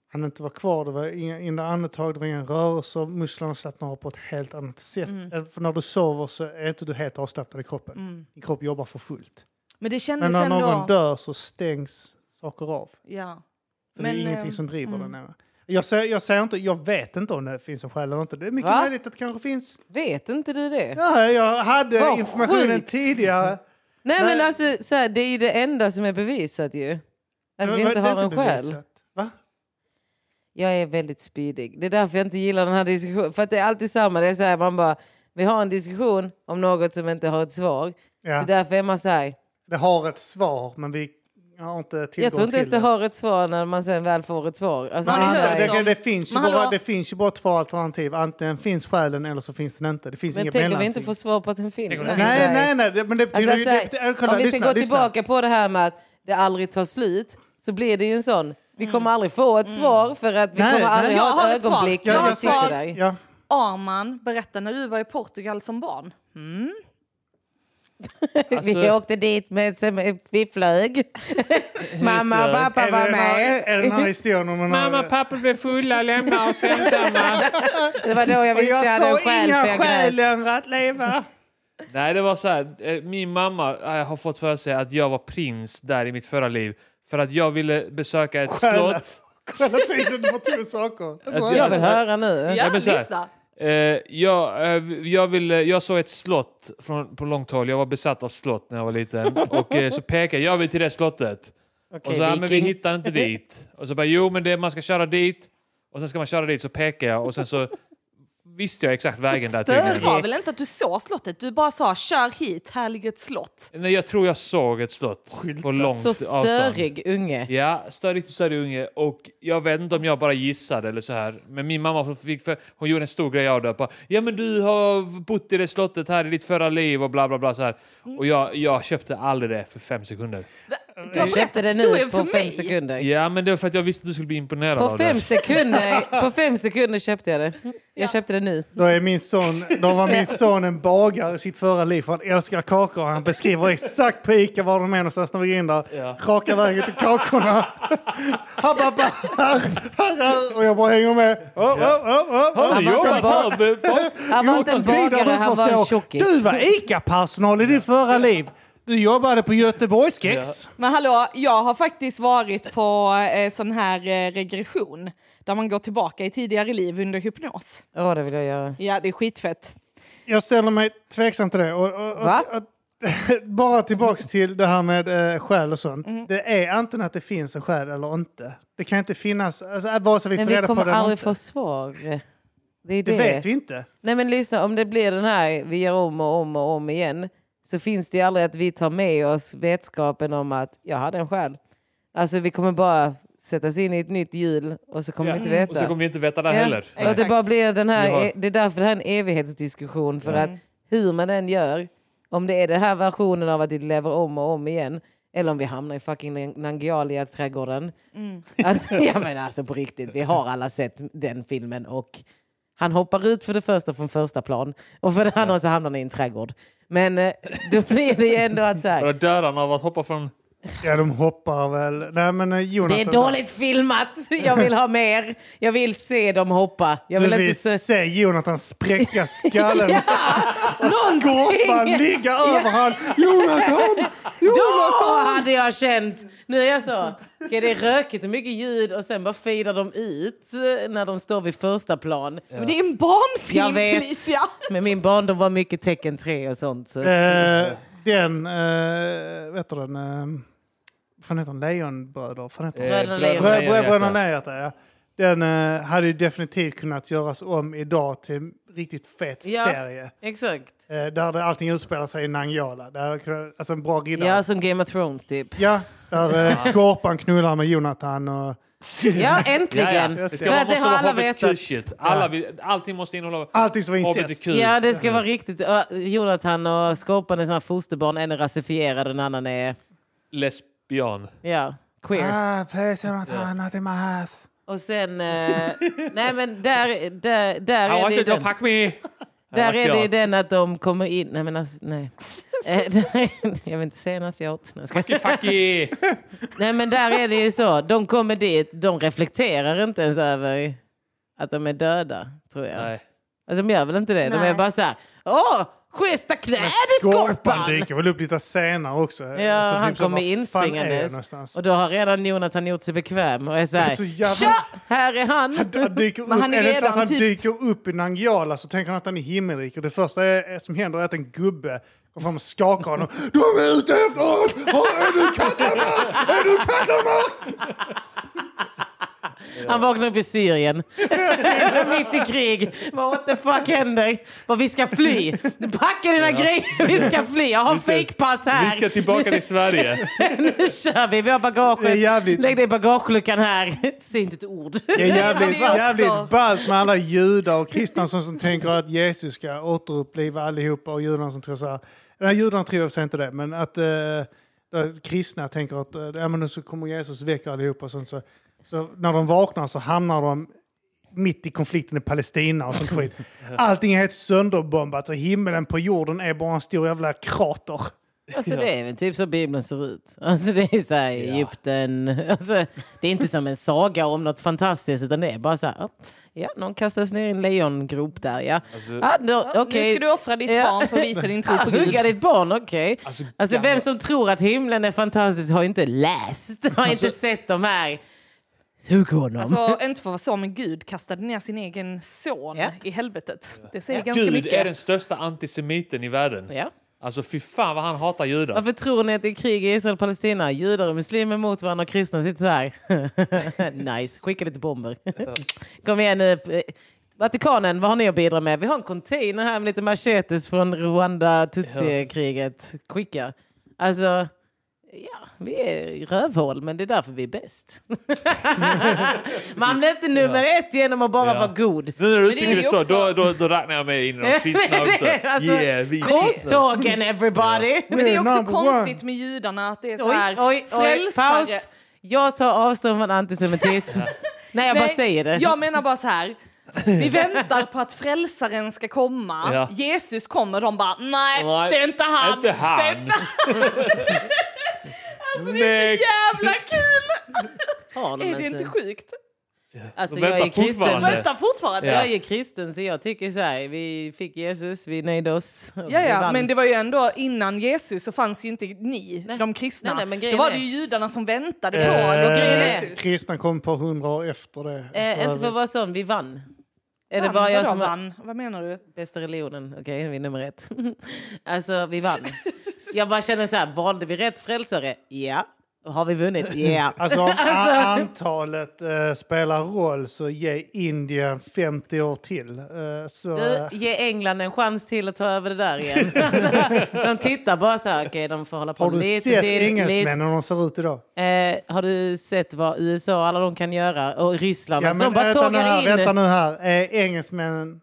Speaker 1: han inte var kvar. Det var inga, inga andetag, det var ingen rörelse. Musklerna slappnade av på ett helt annat sätt. Eh,
Speaker 3: Mm.
Speaker 1: För när du sover så är inte du helt avslappnad i kroppen.
Speaker 3: Mm.
Speaker 1: Din kropp jobbar för fullt.
Speaker 3: Men
Speaker 2: Mm,
Speaker 3: det
Speaker 1: Men
Speaker 3: kändes
Speaker 1: när
Speaker 3: ändå...
Speaker 1: någon dör så stängs saker av.
Speaker 3: Ja.
Speaker 1: För det är ingenting
Speaker 3: eh,
Speaker 1: som driver
Speaker 3: mm.
Speaker 1: den. här. Jag säger, jag säger inte, jag vet inte om det finns en själ eller inte. Det är mycket
Speaker 2: Va?
Speaker 1: möjligt att det kanske finns
Speaker 2: Vet inte du det?
Speaker 1: Ja, jag hade
Speaker 2: Vad
Speaker 1: informationen
Speaker 2: sjukt.
Speaker 1: tidigare.
Speaker 2: Nej men
Speaker 1: Nej.
Speaker 2: alltså så här, det är ju det enda som är bevisat ju. Att
Speaker 1: Men
Speaker 2: vi inte
Speaker 1: det är
Speaker 2: har en själ.
Speaker 1: bevisat. Va?
Speaker 2: Jag är väldigt spydig. Det är därför jag inte gillar den här diskussionen. För att det är alltid samma. Det är så här, man bara, vi har en diskussion om något som inte har ett svar.
Speaker 1: Ja.
Speaker 2: Så därför är man så här,
Speaker 1: Det har ett svar, men vi har inte tillgång
Speaker 2: jag tror inte
Speaker 1: till
Speaker 2: ens det har ett svar när man sen väl får ett svar. Alltså,
Speaker 3: Men
Speaker 2: det är
Speaker 3: har ni
Speaker 2: så
Speaker 1: det,
Speaker 2: här-
Speaker 3: hört
Speaker 1: det,
Speaker 3: om-
Speaker 1: det, finns ju
Speaker 3: Men hallå?
Speaker 1: bara, det finns ju bara två alternativ. Antingen finns själen eller så finns den inte. Det finns
Speaker 2: men
Speaker 1: inget
Speaker 2: tänk om vi
Speaker 1: mellanting.
Speaker 2: inte får svar på att den finns.
Speaker 4: Tänk om-
Speaker 2: Alltså, så
Speaker 1: Nej,
Speaker 2: här-
Speaker 1: nej, nej. Det, men det betyder
Speaker 2: Alltså,
Speaker 1: ju...
Speaker 2: att, så här,
Speaker 1: Det, det, kolla,
Speaker 2: om vi ska
Speaker 1: lyssna,
Speaker 2: gå
Speaker 1: lyssna.
Speaker 2: tillbaka på det här med att det aldrig tar slut så blir det ju en sån, vi kommer aldrig få ett svar för att vi
Speaker 1: Nej,
Speaker 2: kommer
Speaker 1: nej.
Speaker 2: aldrig
Speaker 3: Mm. Jag
Speaker 2: ha
Speaker 3: har
Speaker 2: ett
Speaker 3: ett svar.
Speaker 2: ögonblick
Speaker 3: Jag
Speaker 2: när
Speaker 3: har
Speaker 2: vi
Speaker 3: ett svar.
Speaker 2: sitter där.
Speaker 1: Ja.
Speaker 3: Arman, berätta när du var i Portugal som barn. Mm.
Speaker 2: Vi
Speaker 4: Alltså,
Speaker 2: åkte dit, med, sen- vi flög. Mamma och pappa
Speaker 1: Är det
Speaker 2: var
Speaker 1: den här-
Speaker 2: med.
Speaker 1: Är det den här historien om...
Speaker 4: mamma och pappa blev fulla, lämna oss ensamma.
Speaker 2: Det var då jag visste jag
Speaker 1: Jag
Speaker 2: hade en
Speaker 1: såg
Speaker 2: själ
Speaker 1: inga
Speaker 2: för jag
Speaker 1: skäl
Speaker 2: grät.
Speaker 1: längre att leva.
Speaker 4: Nej, det var så här. eh, Min mamma eh, har fått för sig att jag var prins där i mitt förra liv. För att jag ville besöka ett
Speaker 1: Skäl.
Speaker 4: slott.
Speaker 1: Kolla tiden på två saker.
Speaker 4: Att
Speaker 2: Jag vill höra nu.
Speaker 4: Ja,
Speaker 3: Ja,
Speaker 4: men så här.
Speaker 3: lyssna.
Speaker 4: Eh, jag, eh, jag, ville, jag såg ett slott från, på långt håll. Jag var besatt av slott när jag var liten. Och eh, så pekade jag, jag vill till det slottet. och
Speaker 2: Okej,
Speaker 4: så, ja, men vi
Speaker 2: viking.
Speaker 4: hittar inte dit. Och så bara, jo men det, man ska köra dit. Och sen ska man köra dit, så pekar jag. Och sen så visste jag exakt vägen där
Speaker 2: Stör
Speaker 3: Det
Speaker 4: tydligen.
Speaker 3: var väl inte att du såg slottet? Du bara sa kör hit, här ligger ett slott.
Speaker 4: Nej, jag tror jag såg ett slott på långt
Speaker 2: Så
Speaker 4: avstånd.
Speaker 2: störig unge.
Speaker 4: Ja, störig störig unge. Och jag vet inte om jag bara gissade eller så här. Men min mamma fick för, hon gjorde en stor grej av det. Bara, ja, men du har bott i det slottet här i ditt förra liv och bla bla bla. Så här.
Speaker 2: Mm.
Speaker 4: Och jag, jag köpte aldrig det för fem sekunder.
Speaker 3: Du har
Speaker 2: Jag köpte
Speaker 3: berättat
Speaker 2: det nu
Speaker 3: historien
Speaker 2: på
Speaker 3: för
Speaker 2: fem
Speaker 3: mig.
Speaker 2: sekunder.
Speaker 4: Ja, men det var för att jag visste att du skulle bli imponerad
Speaker 2: På
Speaker 4: av
Speaker 2: fem,
Speaker 4: det.
Speaker 2: sekunder, på fem sekunder köpte jag det. Jag köpte det nu.
Speaker 1: Då, är min son, då var min son en bagare i sitt förra liv. för Han älskar kakor. Han beskriver exakt på Ica var de är någonstans när vi går in där.
Speaker 4: Ja.
Speaker 1: Raka vägen till kakorna. Han bara, bara här, här, här. Och jag bara hänger med. Oh, oh, oh, oh,
Speaker 4: Har
Speaker 1: oh.
Speaker 2: Han
Speaker 4: du
Speaker 2: var inte
Speaker 4: jobbat här? Ba-
Speaker 2: Han var inte en
Speaker 1: Gud,
Speaker 2: bagare,
Speaker 1: du
Speaker 2: han var en
Speaker 1: förstår.
Speaker 2: tjockis.
Speaker 1: Du var Ica-personal i ditt förra liv. Du jobbade på Göteborgskex.
Speaker 3: Men hallå, jag har faktiskt varit på eh, sån här eh, regression där man går tillbaka i tidigare liv under hypnos.
Speaker 2: Ja, det vill jag göra.
Speaker 3: Ja, det är skitfett.
Speaker 1: Jag ställer mig tveksam till det. Och, och, och,
Speaker 2: Va?
Speaker 1: och, bara tillbaks till det här med eh, själ och sånt.
Speaker 2: Mm.
Speaker 1: Det är antingen att det finns en själ eller inte. Det kan inte finnas, alltså, äh, vare sig vi
Speaker 2: Men
Speaker 1: får
Speaker 2: vi
Speaker 1: reda på
Speaker 2: kommer
Speaker 1: det eller
Speaker 2: aldrig
Speaker 1: inte.
Speaker 2: få svar. Det
Speaker 1: det
Speaker 2: är det.
Speaker 1: vet vi inte.
Speaker 2: Nej men lyssna, om det blir den här vi gör om och om och om igen så finns det ju aldrig att vi tar med oss vetskapen om att jag hade en själ. Alltså vi kommer bara sättas in i ett nytt hjul och så kommer
Speaker 4: Ja.
Speaker 2: vi inte veta.
Speaker 4: Och så kommer vi inte veta det
Speaker 2: Ja.
Speaker 4: heller.
Speaker 2: Och att det,
Speaker 3: Exakt.
Speaker 2: bara blir den här, e-
Speaker 4: Vi har-
Speaker 2: Det är därför det här är en evighetsdiskussion. För att hur man än gör, om det är den här versionen av att vi lever om och om igen eller om vi hamnar i fucking Nangialia-trädgården. Alltså, ja, men alltså på riktigt, vi har alla sett den filmen och han hoppar ut för det första från första plan och för det andra så hamnar han i en trädgård. Men eh, då blir det ju ändå att så här,
Speaker 4: Och då dör han av att hoppa från... eh,
Speaker 1: Ja, de hoppar väl. Nej, men eh, Jonathan...
Speaker 2: Det är dåligt filmat. Jag vill ha mer. Jag vill se dem hoppa. Jag vill
Speaker 1: du vill
Speaker 2: inte se...
Speaker 1: se Jonathan spräcka skallen
Speaker 2: Ja,
Speaker 1: och skorpan
Speaker 2: någonting.
Speaker 1: ligga över han. Jonathan!
Speaker 2: Då hade jag känt! Nu är jag så. Okej, det är rökigt och mycket ljud och sen bara fejdar de ut eh, när de står vid första plan.
Speaker 3: Men det är en barnfilm,
Speaker 2: Jag vet.
Speaker 3: Felicia!
Speaker 2: Men min barndom var mycket tecken 3 och sånt. Så.
Speaker 1: Eh, den, eh, vet du den, eh, vad fan heter den? Lejonbröder? Fan heter den?
Speaker 2: Bröderna
Speaker 1: Brö-
Speaker 2: Lejonhjärta.
Speaker 1: Bröderna Lejonhjärta, ja. Den eh, hade ju definitivt kunnat göras om idag till en riktigt fet
Speaker 2: Ja.
Speaker 1: serie.
Speaker 2: Exakt.
Speaker 1: Eh, där det allting utspelar sig i Nangijala. Där jag kunde- Alltså en bra riddare.
Speaker 2: Ja, som Game of Thrones typ.
Speaker 1: Ja, där eh, Skorpan knullar med Jonathan och...
Speaker 2: Ja, äntligen!
Speaker 4: Det ska
Speaker 2: För
Speaker 4: vara
Speaker 2: att det har alla vetat.
Speaker 4: hbtq-shit. Alla, vill- allting måste innehålla
Speaker 1: Allting som var incest.
Speaker 4: hbtq.
Speaker 2: Ja, det ska vara riktigt. Ja, Jonathan och Skorpan är såna fosterbarn. En är rasifierad och den annan är
Speaker 4: Lesbian.
Speaker 2: ja, queer.
Speaker 1: Ah, please Jonathan, not in my house.
Speaker 2: Och sen... Eh, nej, men där, där, där
Speaker 4: I
Speaker 2: är
Speaker 4: want
Speaker 2: det ju
Speaker 4: you to
Speaker 2: den.
Speaker 4: fuck me!
Speaker 2: Där är det ju
Speaker 4: Asiat.
Speaker 2: den att de kommer in... Nej, men alltså, nej. Eh, där är- Jag vill inte säga en asiat. Nej, jag skojar.
Speaker 4: Fucky, fucky!
Speaker 2: Nej, men där är det ju så. De kommer dit, de reflekterar inte ens över att de är döda, tror jag.
Speaker 4: Nej.
Speaker 2: Alltså, de gör väl inte det? De
Speaker 3: Nej.
Speaker 2: är bara så här... Åh, schyssta kläder,
Speaker 1: Skorpan
Speaker 2: Skorpan!
Speaker 1: dyker väl upp lite senare också.
Speaker 2: Ja,
Speaker 1: Alltså,
Speaker 2: han
Speaker 1: typ så,
Speaker 2: kommer
Speaker 1: vad fan är jag
Speaker 2: inspringandes.
Speaker 1: någonstans?
Speaker 2: Och då har redan Jonathan gjort sig bekväm och är så
Speaker 1: Det
Speaker 2: här...
Speaker 1: är så jävla-
Speaker 2: Tja, här är han!
Speaker 1: Han dyker upp.
Speaker 3: Men han är
Speaker 1: är, det inte
Speaker 3: redan
Speaker 1: att han
Speaker 3: typ-
Speaker 1: dyker upp i Nangijala så tänker han att han är himmelrik. Och det första är, är, som händer är att en gubbe kommer fram och skakar honom. De är ute efter oss! Åh, Är du katlamat? Är du katlamat?
Speaker 2: Han vaknar upp i Syrien. Mitt i krig. Bara, what the fuck händer? Bara, vi ska fly. Packa dina grejer, vi ska fly. Jag har
Speaker 4: Vi ska-
Speaker 2: fejkpass här.
Speaker 4: Vi ska tillbaka till Sverige.
Speaker 2: nu kör vi, vi har
Speaker 1: Det är
Speaker 2: bagaget.
Speaker 1: jävligt-
Speaker 2: Lägg dig i bagageluckan här. Säg inte ett ord.
Speaker 1: Det är jävligt,
Speaker 3: Han är ju
Speaker 1: jävligt
Speaker 3: också-
Speaker 1: ballt med alla judar och kristna som, som tänker att Jesus ska återuppliva allihopa och judarna som tror så här. Nej, judarna tror jag sig inte det, men att eh, där kristna tänker att eh, ja, men nu så kommer Jesus väcka allihopa. Och sånt, så, så när de vaknar så hamnar de mitt i konflikten i Palestina och sånt skit. Allting är helt sönderbombat och himlen på jorden är bara en stor jävla krater.
Speaker 2: Alltså, det är väl typ så Bibeln ser ut. Alltså, det är så här, Egypten. Alltså, det är inte som en saga om något fantastiskt utan det är bara så här. "Ja, Ja, någon kastas ner i en lejongrop där. Ja.
Speaker 4: Alltså-
Speaker 2: ah, då,
Speaker 3: Nu
Speaker 2: okej.
Speaker 3: ska du offra ditt
Speaker 2: Ja.
Speaker 3: barn för att visa din tro
Speaker 2: Ah,
Speaker 3: på Gud.
Speaker 2: hugga ditt barn, okej.
Speaker 4: Alltså,
Speaker 2: Alltså,
Speaker 4: gamla-
Speaker 2: vem som tror att himlen är fantastisk har inte läst, har inte sett de här. Hugg honom.
Speaker 3: Alltså, inte för att vara så, men Gud kastade ner sin egen son
Speaker 2: Ja.
Speaker 3: i helvetet. Det säger ganska
Speaker 4: Gud är
Speaker 3: mycket.
Speaker 4: den största antisemiten i världen.
Speaker 2: ja.
Speaker 4: Alltså fy fan vad han hatar judar.
Speaker 2: Varför tror ni att det är krig i Israel och Palestina? Judar och muslimer mot varandra och kristna sitter så här. nice, skicka lite bomber. Kom igen nu. Eh, Vatikanen, vad har ni att bidra med? Vi har en container här med lite machetes från Rwanda-Tutsi-kriget. Skicka. Alltså, ja, vi är rövhål, men det är därför vi är bäst. Man blir inte nummer ett genom att bara
Speaker 4: Ja.
Speaker 2: vara god.
Speaker 4: Nu när du
Speaker 3: det är
Speaker 4: uttrycker det
Speaker 3: ju
Speaker 4: så,
Speaker 3: också-
Speaker 4: då, då, då räknar jag mig in i de kristna också.
Speaker 2: Alltså,
Speaker 4: yeah, vi
Speaker 2: Korstågen everybody!
Speaker 3: Men det
Speaker 1: We're
Speaker 3: är också
Speaker 1: number
Speaker 3: konstigt med judarna att det är så
Speaker 2: Oj,
Speaker 3: här
Speaker 2: oj, oj,
Speaker 3: frälsare.
Speaker 2: paus. Jag tar avstånd från antisemitism. Nej, jag bara
Speaker 3: Nej,
Speaker 2: säger det.
Speaker 3: Jag menar bara så här. Vi väntar på att frälsaren ska komma.
Speaker 4: Ja.
Speaker 3: Jesus kommer de bara nej,
Speaker 4: Nej,
Speaker 3: det är inte han.
Speaker 4: Inte han. Alltså,
Speaker 3: Det är inte
Speaker 2: Alltså,
Speaker 4: Next!
Speaker 3: jävla kul!
Speaker 2: Har de
Speaker 3: Är det
Speaker 2: ens
Speaker 3: inte
Speaker 2: en-
Speaker 3: sjukt?
Speaker 2: Alltså,
Speaker 4: De
Speaker 2: jag
Speaker 4: väntar
Speaker 2: är kristen.
Speaker 4: fortfarande.
Speaker 3: Vänta fortfarande.
Speaker 4: Ja.
Speaker 2: Jag är kristen så jag tycker så här, vi fick Jesus, vi nöjde oss. och
Speaker 3: Ja,
Speaker 2: vi
Speaker 3: ja,
Speaker 2: vann.
Speaker 3: men det var ju ändå innan Jesus så fanns ju inte ni, de kristna.
Speaker 2: Nej, nej, men
Speaker 3: Då
Speaker 2: grejen
Speaker 3: var
Speaker 2: är-
Speaker 3: det ju judarna som väntade på
Speaker 1: Eh,
Speaker 3: något
Speaker 2: grejen är-
Speaker 3: Jesus.
Speaker 1: Kristna kom ett par hundra år efter det.
Speaker 2: eh, inte för att vara sån, vi vann. Är det
Speaker 3: Vann,
Speaker 2: bara jag
Speaker 3: vadå
Speaker 2: som var
Speaker 3: vann? Vad menar du?
Speaker 2: bästa religionen? Okej, vi är nummer ett. alltså, vi vann. jag bara känner så här, valde vi rätt frälsare? Ja. Har vi vunnit? Ja.
Speaker 1: Alltså om a- antalet eh, spelar roll så ge Indien 50 år till. Eh, så,
Speaker 2: Du, ge England en chans till att ta över det där igen. Alltså, de tittar bara så här, okej de får hålla på
Speaker 1: har du
Speaker 2: lite
Speaker 1: sett
Speaker 2: till.
Speaker 1: engelsmännen hur de ser ut idag?
Speaker 2: lite- Eh, har du sett vad USA och alla de kan göra? Och Ryssland, alltså, de bara
Speaker 1: eh, vänta, nu
Speaker 2: tågar
Speaker 1: här,
Speaker 2: in.
Speaker 1: vänta nu här. Eh, engelsmännen...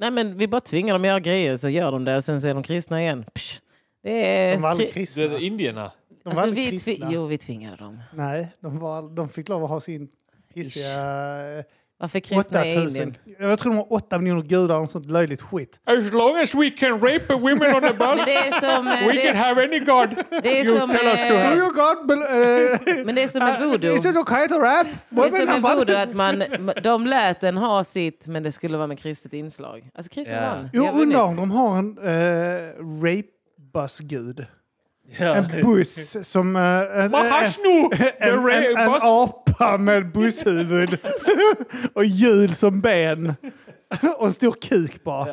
Speaker 2: Nej men vi bara tvingar dem att göra grejer så gör de det och sen så är de kristna igen. Psh. Det är...
Speaker 1: De var aldrig
Speaker 2: kri-
Speaker 1: kristna.
Speaker 4: Det är
Speaker 1: De
Speaker 4: Indierna.
Speaker 1: var
Speaker 2: alltså,
Speaker 1: aldrig
Speaker 2: vi
Speaker 1: kristna.
Speaker 2: tvi- jo vi tvingade dem.
Speaker 1: Nej, de, var, de fick lov att ha sin hissiga
Speaker 2: Varför kristna är
Speaker 1: 8000.
Speaker 2: Indien?
Speaker 1: eh, Jag tror de har 8 miljoner gudar och sånt löjligt skit.
Speaker 4: As long as we can rape women on the
Speaker 2: Men
Speaker 4: bus,
Speaker 2: det är som... eh,
Speaker 4: we
Speaker 2: det är
Speaker 4: can have any god.
Speaker 2: Det är
Speaker 4: You
Speaker 2: som,
Speaker 4: tell us
Speaker 2: eh,
Speaker 4: to
Speaker 1: Oh
Speaker 4: have.
Speaker 1: your god! Bel- eh,
Speaker 2: Men det är som med voodoo.
Speaker 1: Is it okay to rap?
Speaker 2: Det är som
Speaker 1: Women
Speaker 2: med
Speaker 1: are
Speaker 2: voodoo
Speaker 1: bad-
Speaker 2: att man, de lät den ha sitt men det skulle vara med kristet inslag. Alltså kristna
Speaker 4: Ja.
Speaker 2: vann. Vi
Speaker 1: Jag
Speaker 2: har
Speaker 1: undrar om
Speaker 2: vunnit.
Speaker 1: de har en eh, rape-buss-gud.
Speaker 4: Ja.
Speaker 1: En buss som... eh, en,
Speaker 4: Mahash nu! The
Speaker 1: en, en,
Speaker 4: rape
Speaker 1: en
Speaker 4: bus.
Speaker 1: apa med busshuvud och hjul som ben. och en stor kuk bara.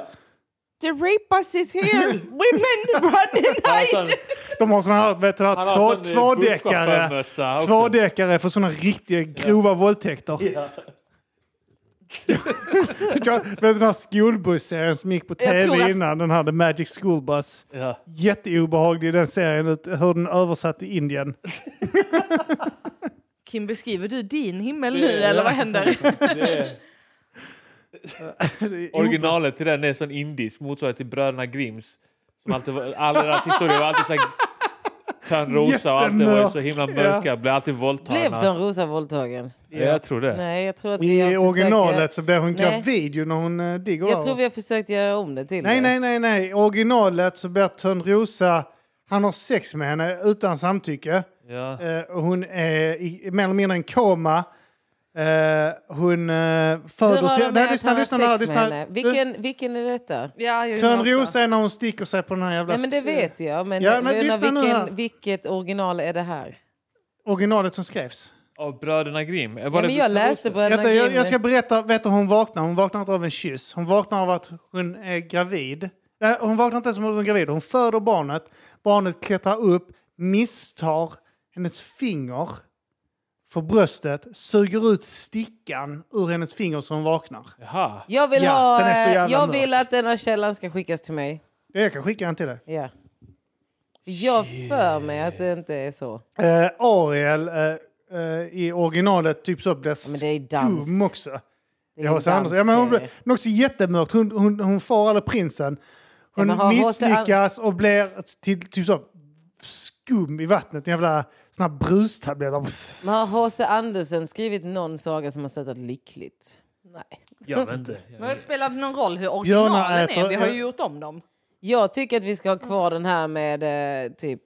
Speaker 2: The rape bus is here! Women run and
Speaker 4: Alltså,
Speaker 2: hide!
Speaker 1: De har såna här, vet du, här
Speaker 4: Han har
Speaker 1: två,
Speaker 4: sån, eh,
Speaker 1: tvådäckare.
Speaker 4: busschaufförmössa också.
Speaker 1: Tvådäckare för såna riktiga grova våldtäkter.
Speaker 4: Ja.
Speaker 1: Jag, vet du den här skolbusserien som gick på
Speaker 2: Jag tror
Speaker 1: tv
Speaker 2: att-
Speaker 1: innan, den här The Magic School Bus.
Speaker 4: Ja.
Speaker 1: Jätteobehaglig den serien, ut- hur den översatt i Indien.
Speaker 3: Kim, beskriver du din himmel nu
Speaker 4: Det-
Speaker 3: eller vad händer?
Speaker 4: Det är- Originalet till den är sån indisk motsvarighet till Bröderna Grimms. Som alltid var, alla deras historier var alltid så här... Törnrosa och allt det var ju så himla mörka. Blev alltid
Speaker 2: Blev
Speaker 4: våldtagna.
Speaker 2: Törnrosa våldtagen?
Speaker 4: Ja, jag tror det.
Speaker 2: Nej, jag tror att vi har
Speaker 1: I originalet
Speaker 2: försökt...
Speaker 1: så blir hon
Speaker 2: Nej.
Speaker 1: gravid ju när hon eh, digger
Speaker 2: Jag
Speaker 1: av.
Speaker 2: tror vi har försökt göra om det till
Speaker 1: Nej,
Speaker 2: det.
Speaker 1: nej, nej, nej. Originalet så blir Törnrosa, han har sex med henne utan samtycke.
Speaker 4: Ja.
Speaker 1: Eh, och hon är i, mer eller mindre en koma. Eh, hon eh,
Speaker 2: Hur
Speaker 1: föder
Speaker 2: har
Speaker 1: sig...
Speaker 2: de med
Speaker 1: Nej,
Speaker 2: att
Speaker 1: lyssna,
Speaker 2: han har
Speaker 1: lyssna,
Speaker 2: sex
Speaker 1: nu,
Speaker 2: med
Speaker 1: lyssna.
Speaker 2: henne? Vilken, vilken är detta?
Speaker 3: ja, jag
Speaker 1: Törnrosa är när hon sticker sig på den här jävla... eh,
Speaker 2: Nej, men det vet jag. Men,
Speaker 1: Ja,
Speaker 2: jag
Speaker 1: men
Speaker 2: undrar
Speaker 1: lyssna nu här.
Speaker 2: vilken, vilket original är det här?
Speaker 1: Originalet som skrevs.
Speaker 4: Av Bröderna Grimm? Var
Speaker 2: Ja,
Speaker 4: det
Speaker 2: men jag
Speaker 4: Törnrosa?
Speaker 2: läste Bröderna
Speaker 1: Jag, jag,
Speaker 2: Grimm.
Speaker 1: jag ska berätta, vet du hur hon vaknar? Hon vaknar inte av en kyss. Hon vaknar av att hon är gravid. Nej, hon vaknar inte ens av att hon är gravid. Hon föder barnet. Barnet klättrar upp, misstar hennes finger för bröstet, suger ut stickan ur hennes finger så hon vaknar.
Speaker 4: Jaha.
Speaker 2: Jag vill,
Speaker 1: Ja,
Speaker 2: ha,
Speaker 1: den är så
Speaker 2: eh,
Speaker 1: jävla
Speaker 2: jag
Speaker 1: mörk.
Speaker 2: vill att den här källan ska skickas till mig.
Speaker 1: Jag kan skicka den till dig.
Speaker 2: Ja. Jag för mig att det inte är så.
Speaker 1: Eh, Ariel eh, eh, i originalet typs upp blir
Speaker 2: men det är danskt.
Speaker 1: skum också.
Speaker 2: Det
Speaker 1: Ja, H.C.
Speaker 2: en
Speaker 1: Andersen.
Speaker 2: dansk
Speaker 1: Ja, men hon, blir-
Speaker 2: serie.
Speaker 1: men också jättemörkt. Hon, hon, hon far alla prinsen. Hon
Speaker 2: Ja, men har H.C. An-
Speaker 1: misslyckas och blir till, typ så skum i vattnet. En jävla sån här brustablett.
Speaker 2: Men har H.C. Andersen skrivit någon saga som har slutat lyckligt? Nej.
Speaker 4: Jag vet inte.
Speaker 3: Men spelar det någon roll hur
Speaker 1: Björnar
Speaker 3: originalen
Speaker 1: äter-
Speaker 3: är? Vi har ju gjort om dem.
Speaker 2: Jag tycker att vi ska ha kvar den här med eh, typ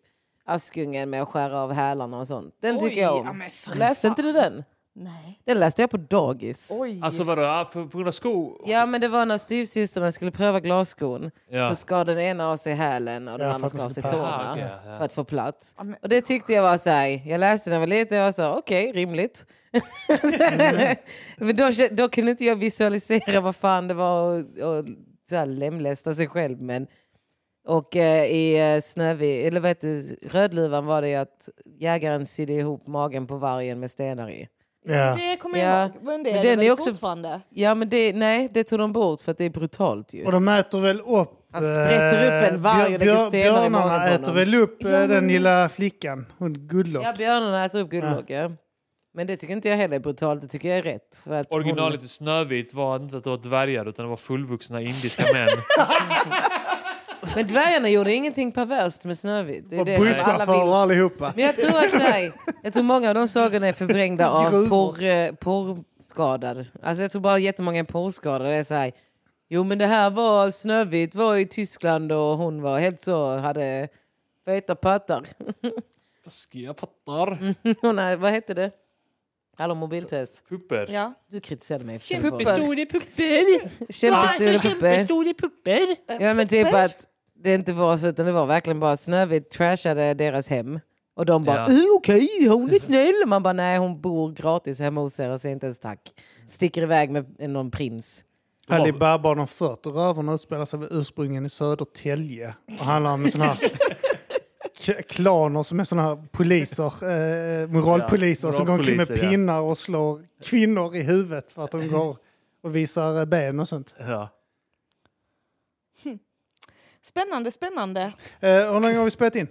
Speaker 2: Askungen med att skära av hälarna och sånt. Den
Speaker 3: Oj,
Speaker 2: tycker jag
Speaker 3: ja,
Speaker 2: om.
Speaker 3: men för
Speaker 2: läste inte du den?
Speaker 3: Nej.
Speaker 2: Den läste jag på dagis.
Speaker 3: Oj.
Speaker 4: Alltså vadå? Ja, för- På grund av sko?
Speaker 2: Ja, men det var när styvsystrarna skulle pröva glasskon
Speaker 4: Ja.
Speaker 2: så skar den ena av sig hälen och den
Speaker 1: Ja, för
Speaker 2: andra
Speaker 1: att
Speaker 2: skar
Speaker 1: den
Speaker 2: av sig
Speaker 1: skulle
Speaker 2: tårna
Speaker 1: passa.
Speaker 4: Ah, okej, ja.
Speaker 2: för att få plats. Och det tyckte jag var så här, jag läste när jag var liten och jag sa okej, rimligt. men då, kä- då kunde inte jag visualisera vad fan det var och, och så här, lemlästa sig själv. Men, och eh, i eh, Snövit, eller vet du, Rödluvan var det ju att jägaren sydde ihop magen på vargen med stenar i.
Speaker 1: Ja.
Speaker 3: Det kommer
Speaker 2: Ja.
Speaker 3: jag ihåg. Men det
Speaker 2: Men den
Speaker 3: är det
Speaker 2: är
Speaker 3: väl
Speaker 2: också-
Speaker 3: fortfarande.
Speaker 2: Ja men det, nej, det tog de bort för att det är brutalt ju.
Speaker 1: Och de äter väl upp... eh,
Speaker 2: Han sprätter upp en varg och lägger
Speaker 1: björ-
Speaker 2: stenar i magen på
Speaker 1: Björnarna äter
Speaker 2: honom.
Speaker 1: väl upp eh, den lilla flickan. Hon Guldlock.
Speaker 2: Ja, björnarna äter upp guldlågor. Men det tycker inte jag heller är brutalt. Det tycker jag är rätt. För att
Speaker 4: Originalet till Snövit var inte att det var dvärgar utan det var fullvuxna indiska män.
Speaker 2: Hon... Men dvärgarna gjorde ingenting perverst med Snövit. Det är
Speaker 1: och
Speaker 2: det som alla
Speaker 1: busschaufförer
Speaker 2: vill.
Speaker 1: allihopa.
Speaker 2: Men jag tror att nej, jag tror många av de sagorna är förvrängda av
Speaker 1: Gruvor.
Speaker 2: porr, eh, porrskadad. Alltså jag tror bara jättemånga är porrskadade. Det är så här, jo men det här var Snövit var i Tyskland och hon var helt så, hade feta pattar.
Speaker 4: Taskiga pattar.
Speaker 2: Hon hade, vad hette det? Hallå mobiltest.
Speaker 4: Pupper.
Speaker 3: Ja.
Speaker 2: Du kritiserade mig. för telefonen.
Speaker 5: Kämpestora pupper!
Speaker 2: Kämpestora pupper.
Speaker 5: Kämpestora pupper!
Speaker 2: Ja men typ att det inte var så utan det var verkligen bara Snövit trashade deras hem. Och de bara
Speaker 4: Ja.
Speaker 2: "Eh, okej, hon är snäll. Man bara nej hon bor gratis hemma hos er och säger inte ens tack. Sticker iväg med någon prins.
Speaker 1: Ali Baba och de 40 rövarna utspelar sig väl ursprungligen i Södertälje och handlar om såna här k- klaner som är såna här poliser, eh, moralpoliser
Speaker 4: Ja,
Speaker 1: som går omkring med
Speaker 4: moralpoliser, ja.
Speaker 1: pinnar och slår kvinnor i huvudet för att de går och visar eh, ben och sånt.
Speaker 4: Ja.
Speaker 3: Spännande, spännande. Mm.
Speaker 1: Eh, hur länge har vi spelat in?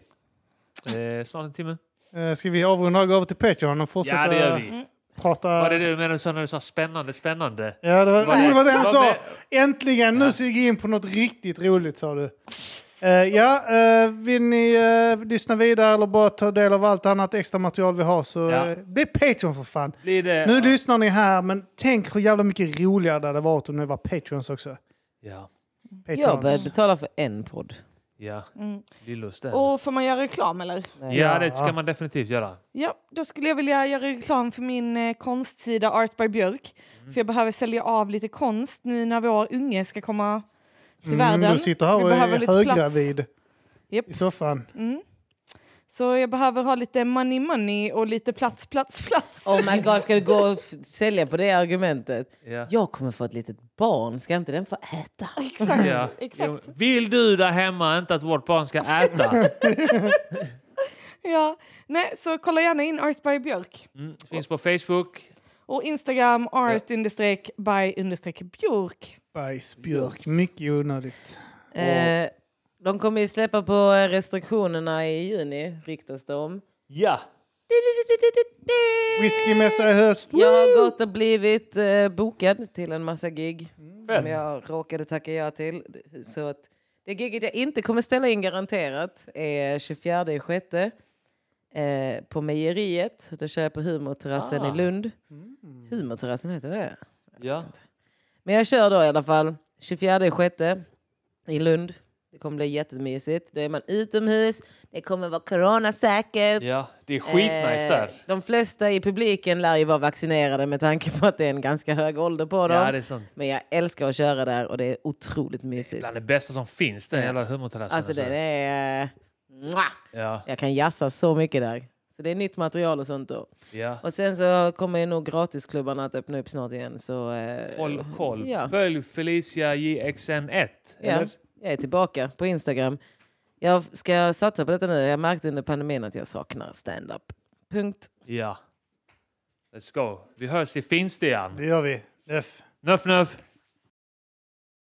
Speaker 4: Eh, snart en timme.
Speaker 1: Eh, ska vi avrunda och gå över till Patreon och fortsätta
Speaker 4: Ja, det gör
Speaker 2: Mm.
Speaker 4: vi.
Speaker 1: prata?
Speaker 4: Var det det du menade så när du sa spännande, spännande?
Speaker 1: Ja, det var,
Speaker 4: Var det-
Speaker 1: oh, det, var det han
Speaker 4: var
Speaker 1: sa!
Speaker 4: det-
Speaker 1: Äntligen! Nu ska vi in på något riktigt roligt sa du.
Speaker 6: Eh, ja, eh, vill ni eh, lyssna vidare eller bara ta del av allt annat extra material vi har så
Speaker 4: Ja.
Speaker 6: eh, bli Patreon för fan.
Speaker 4: Blir det...
Speaker 6: Nu lyssnar ni här, men tänk hur jävla mycket roligare det hade varit om ni var Patreons också.
Speaker 4: Ja.
Speaker 2: Jag började
Speaker 6: Patreons.
Speaker 2: betala för en podd.
Speaker 4: Ja.
Speaker 3: Mm.
Speaker 4: Lillus där.
Speaker 3: Och får man göra reklam eller?
Speaker 2: Nej.
Speaker 4: Ja, det ska man definitivt göra.
Speaker 3: Ja, då skulle jag vilja göra reklam för min eh, konstsida Art by Björk.
Speaker 4: Mm.
Speaker 3: För jag behöver sälja av lite konst nu när vår unge ska komma till världen.
Speaker 6: du Mm, sitter här
Speaker 3: Vi
Speaker 6: och
Speaker 3: behöver
Speaker 6: är
Speaker 3: lite
Speaker 6: höggravid
Speaker 3: Japp.
Speaker 6: i soffan.
Speaker 3: Mm. Så jag behöver ha lite money money och lite plats, plats, plats.
Speaker 2: Oh my god, ska du gå och f- sälja på det argumentet?
Speaker 4: Ja.
Speaker 2: Jag kommer få ett litet barn, ska inte den få äta?
Speaker 3: Exakt,
Speaker 4: Ja.
Speaker 3: exakt.
Speaker 4: Jo, Vill du där hemma inte att vårt barn ska äta?
Speaker 3: Ja. Nej, så kolla gärna in Art by Björk.
Speaker 4: Mm. Finns på Facebook.
Speaker 3: Och Instagram art understreck by understreck Björk.
Speaker 6: Bajs, Björk, mycket onödigt.
Speaker 2: Eh, de kommer ju släppa på eh, restriktionerna i juni, ryktas det om.
Speaker 4: Ja.
Speaker 6: Whiskymässa i höst.
Speaker 2: Jag har gått och blivit eh, bokad till en massa gig som
Speaker 4: Mm. Fett.
Speaker 2: jag råkade tacka ja till. Så att det giget jag inte kommer ställa in garanterat är 24 i sjätte eh, på Mejeriet. Det kör jag på Humorterrassen
Speaker 4: Ah. Mm.
Speaker 2: i Lund. Humorterrassen heter det?
Speaker 4: Ja.
Speaker 2: Men jag kör då i alla fall 24 i sjätte i Lund. Det kommer bli jättemysigt. Då är man utomhus. Det kommer vara coronasäkert.
Speaker 4: ja. Det är skitnice
Speaker 2: Eh,
Speaker 4: där.
Speaker 2: De flesta i publiken lär ju vara vaccinerade med tanke på att det är en ganska hög ålder på dem.
Speaker 4: Ja, det är sant.
Speaker 2: Men jag älskar att köra där och det är otroligt mysigt.
Speaker 4: Bland det bästa som finns, den
Speaker 2: Ja.
Speaker 4: jävla humorterrassen.
Speaker 2: Alltså det är... Mwah!
Speaker 4: Ja,
Speaker 2: Jag kan jassa så mycket där. Så det är nytt material och sånt då.
Speaker 4: ja.
Speaker 2: Och sen så kommer ju nog gratisklubbarna att öppna upp snart igen. Så, eh,
Speaker 4: Håll koll.
Speaker 2: Ja.
Speaker 4: Följ Felicia JXN1.
Speaker 2: Ja,
Speaker 4: Eller?
Speaker 2: jag är tillbaka på Instagram. Jag ska satsa på detta nu. Jag märkte under pandemin att jag saknar stand-up. Punkt.
Speaker 4: Ja. Let's go. Vi hörs i Finstian.
Speaker 6: Det gör vi. F.
Speaker 4: Nuff nuff.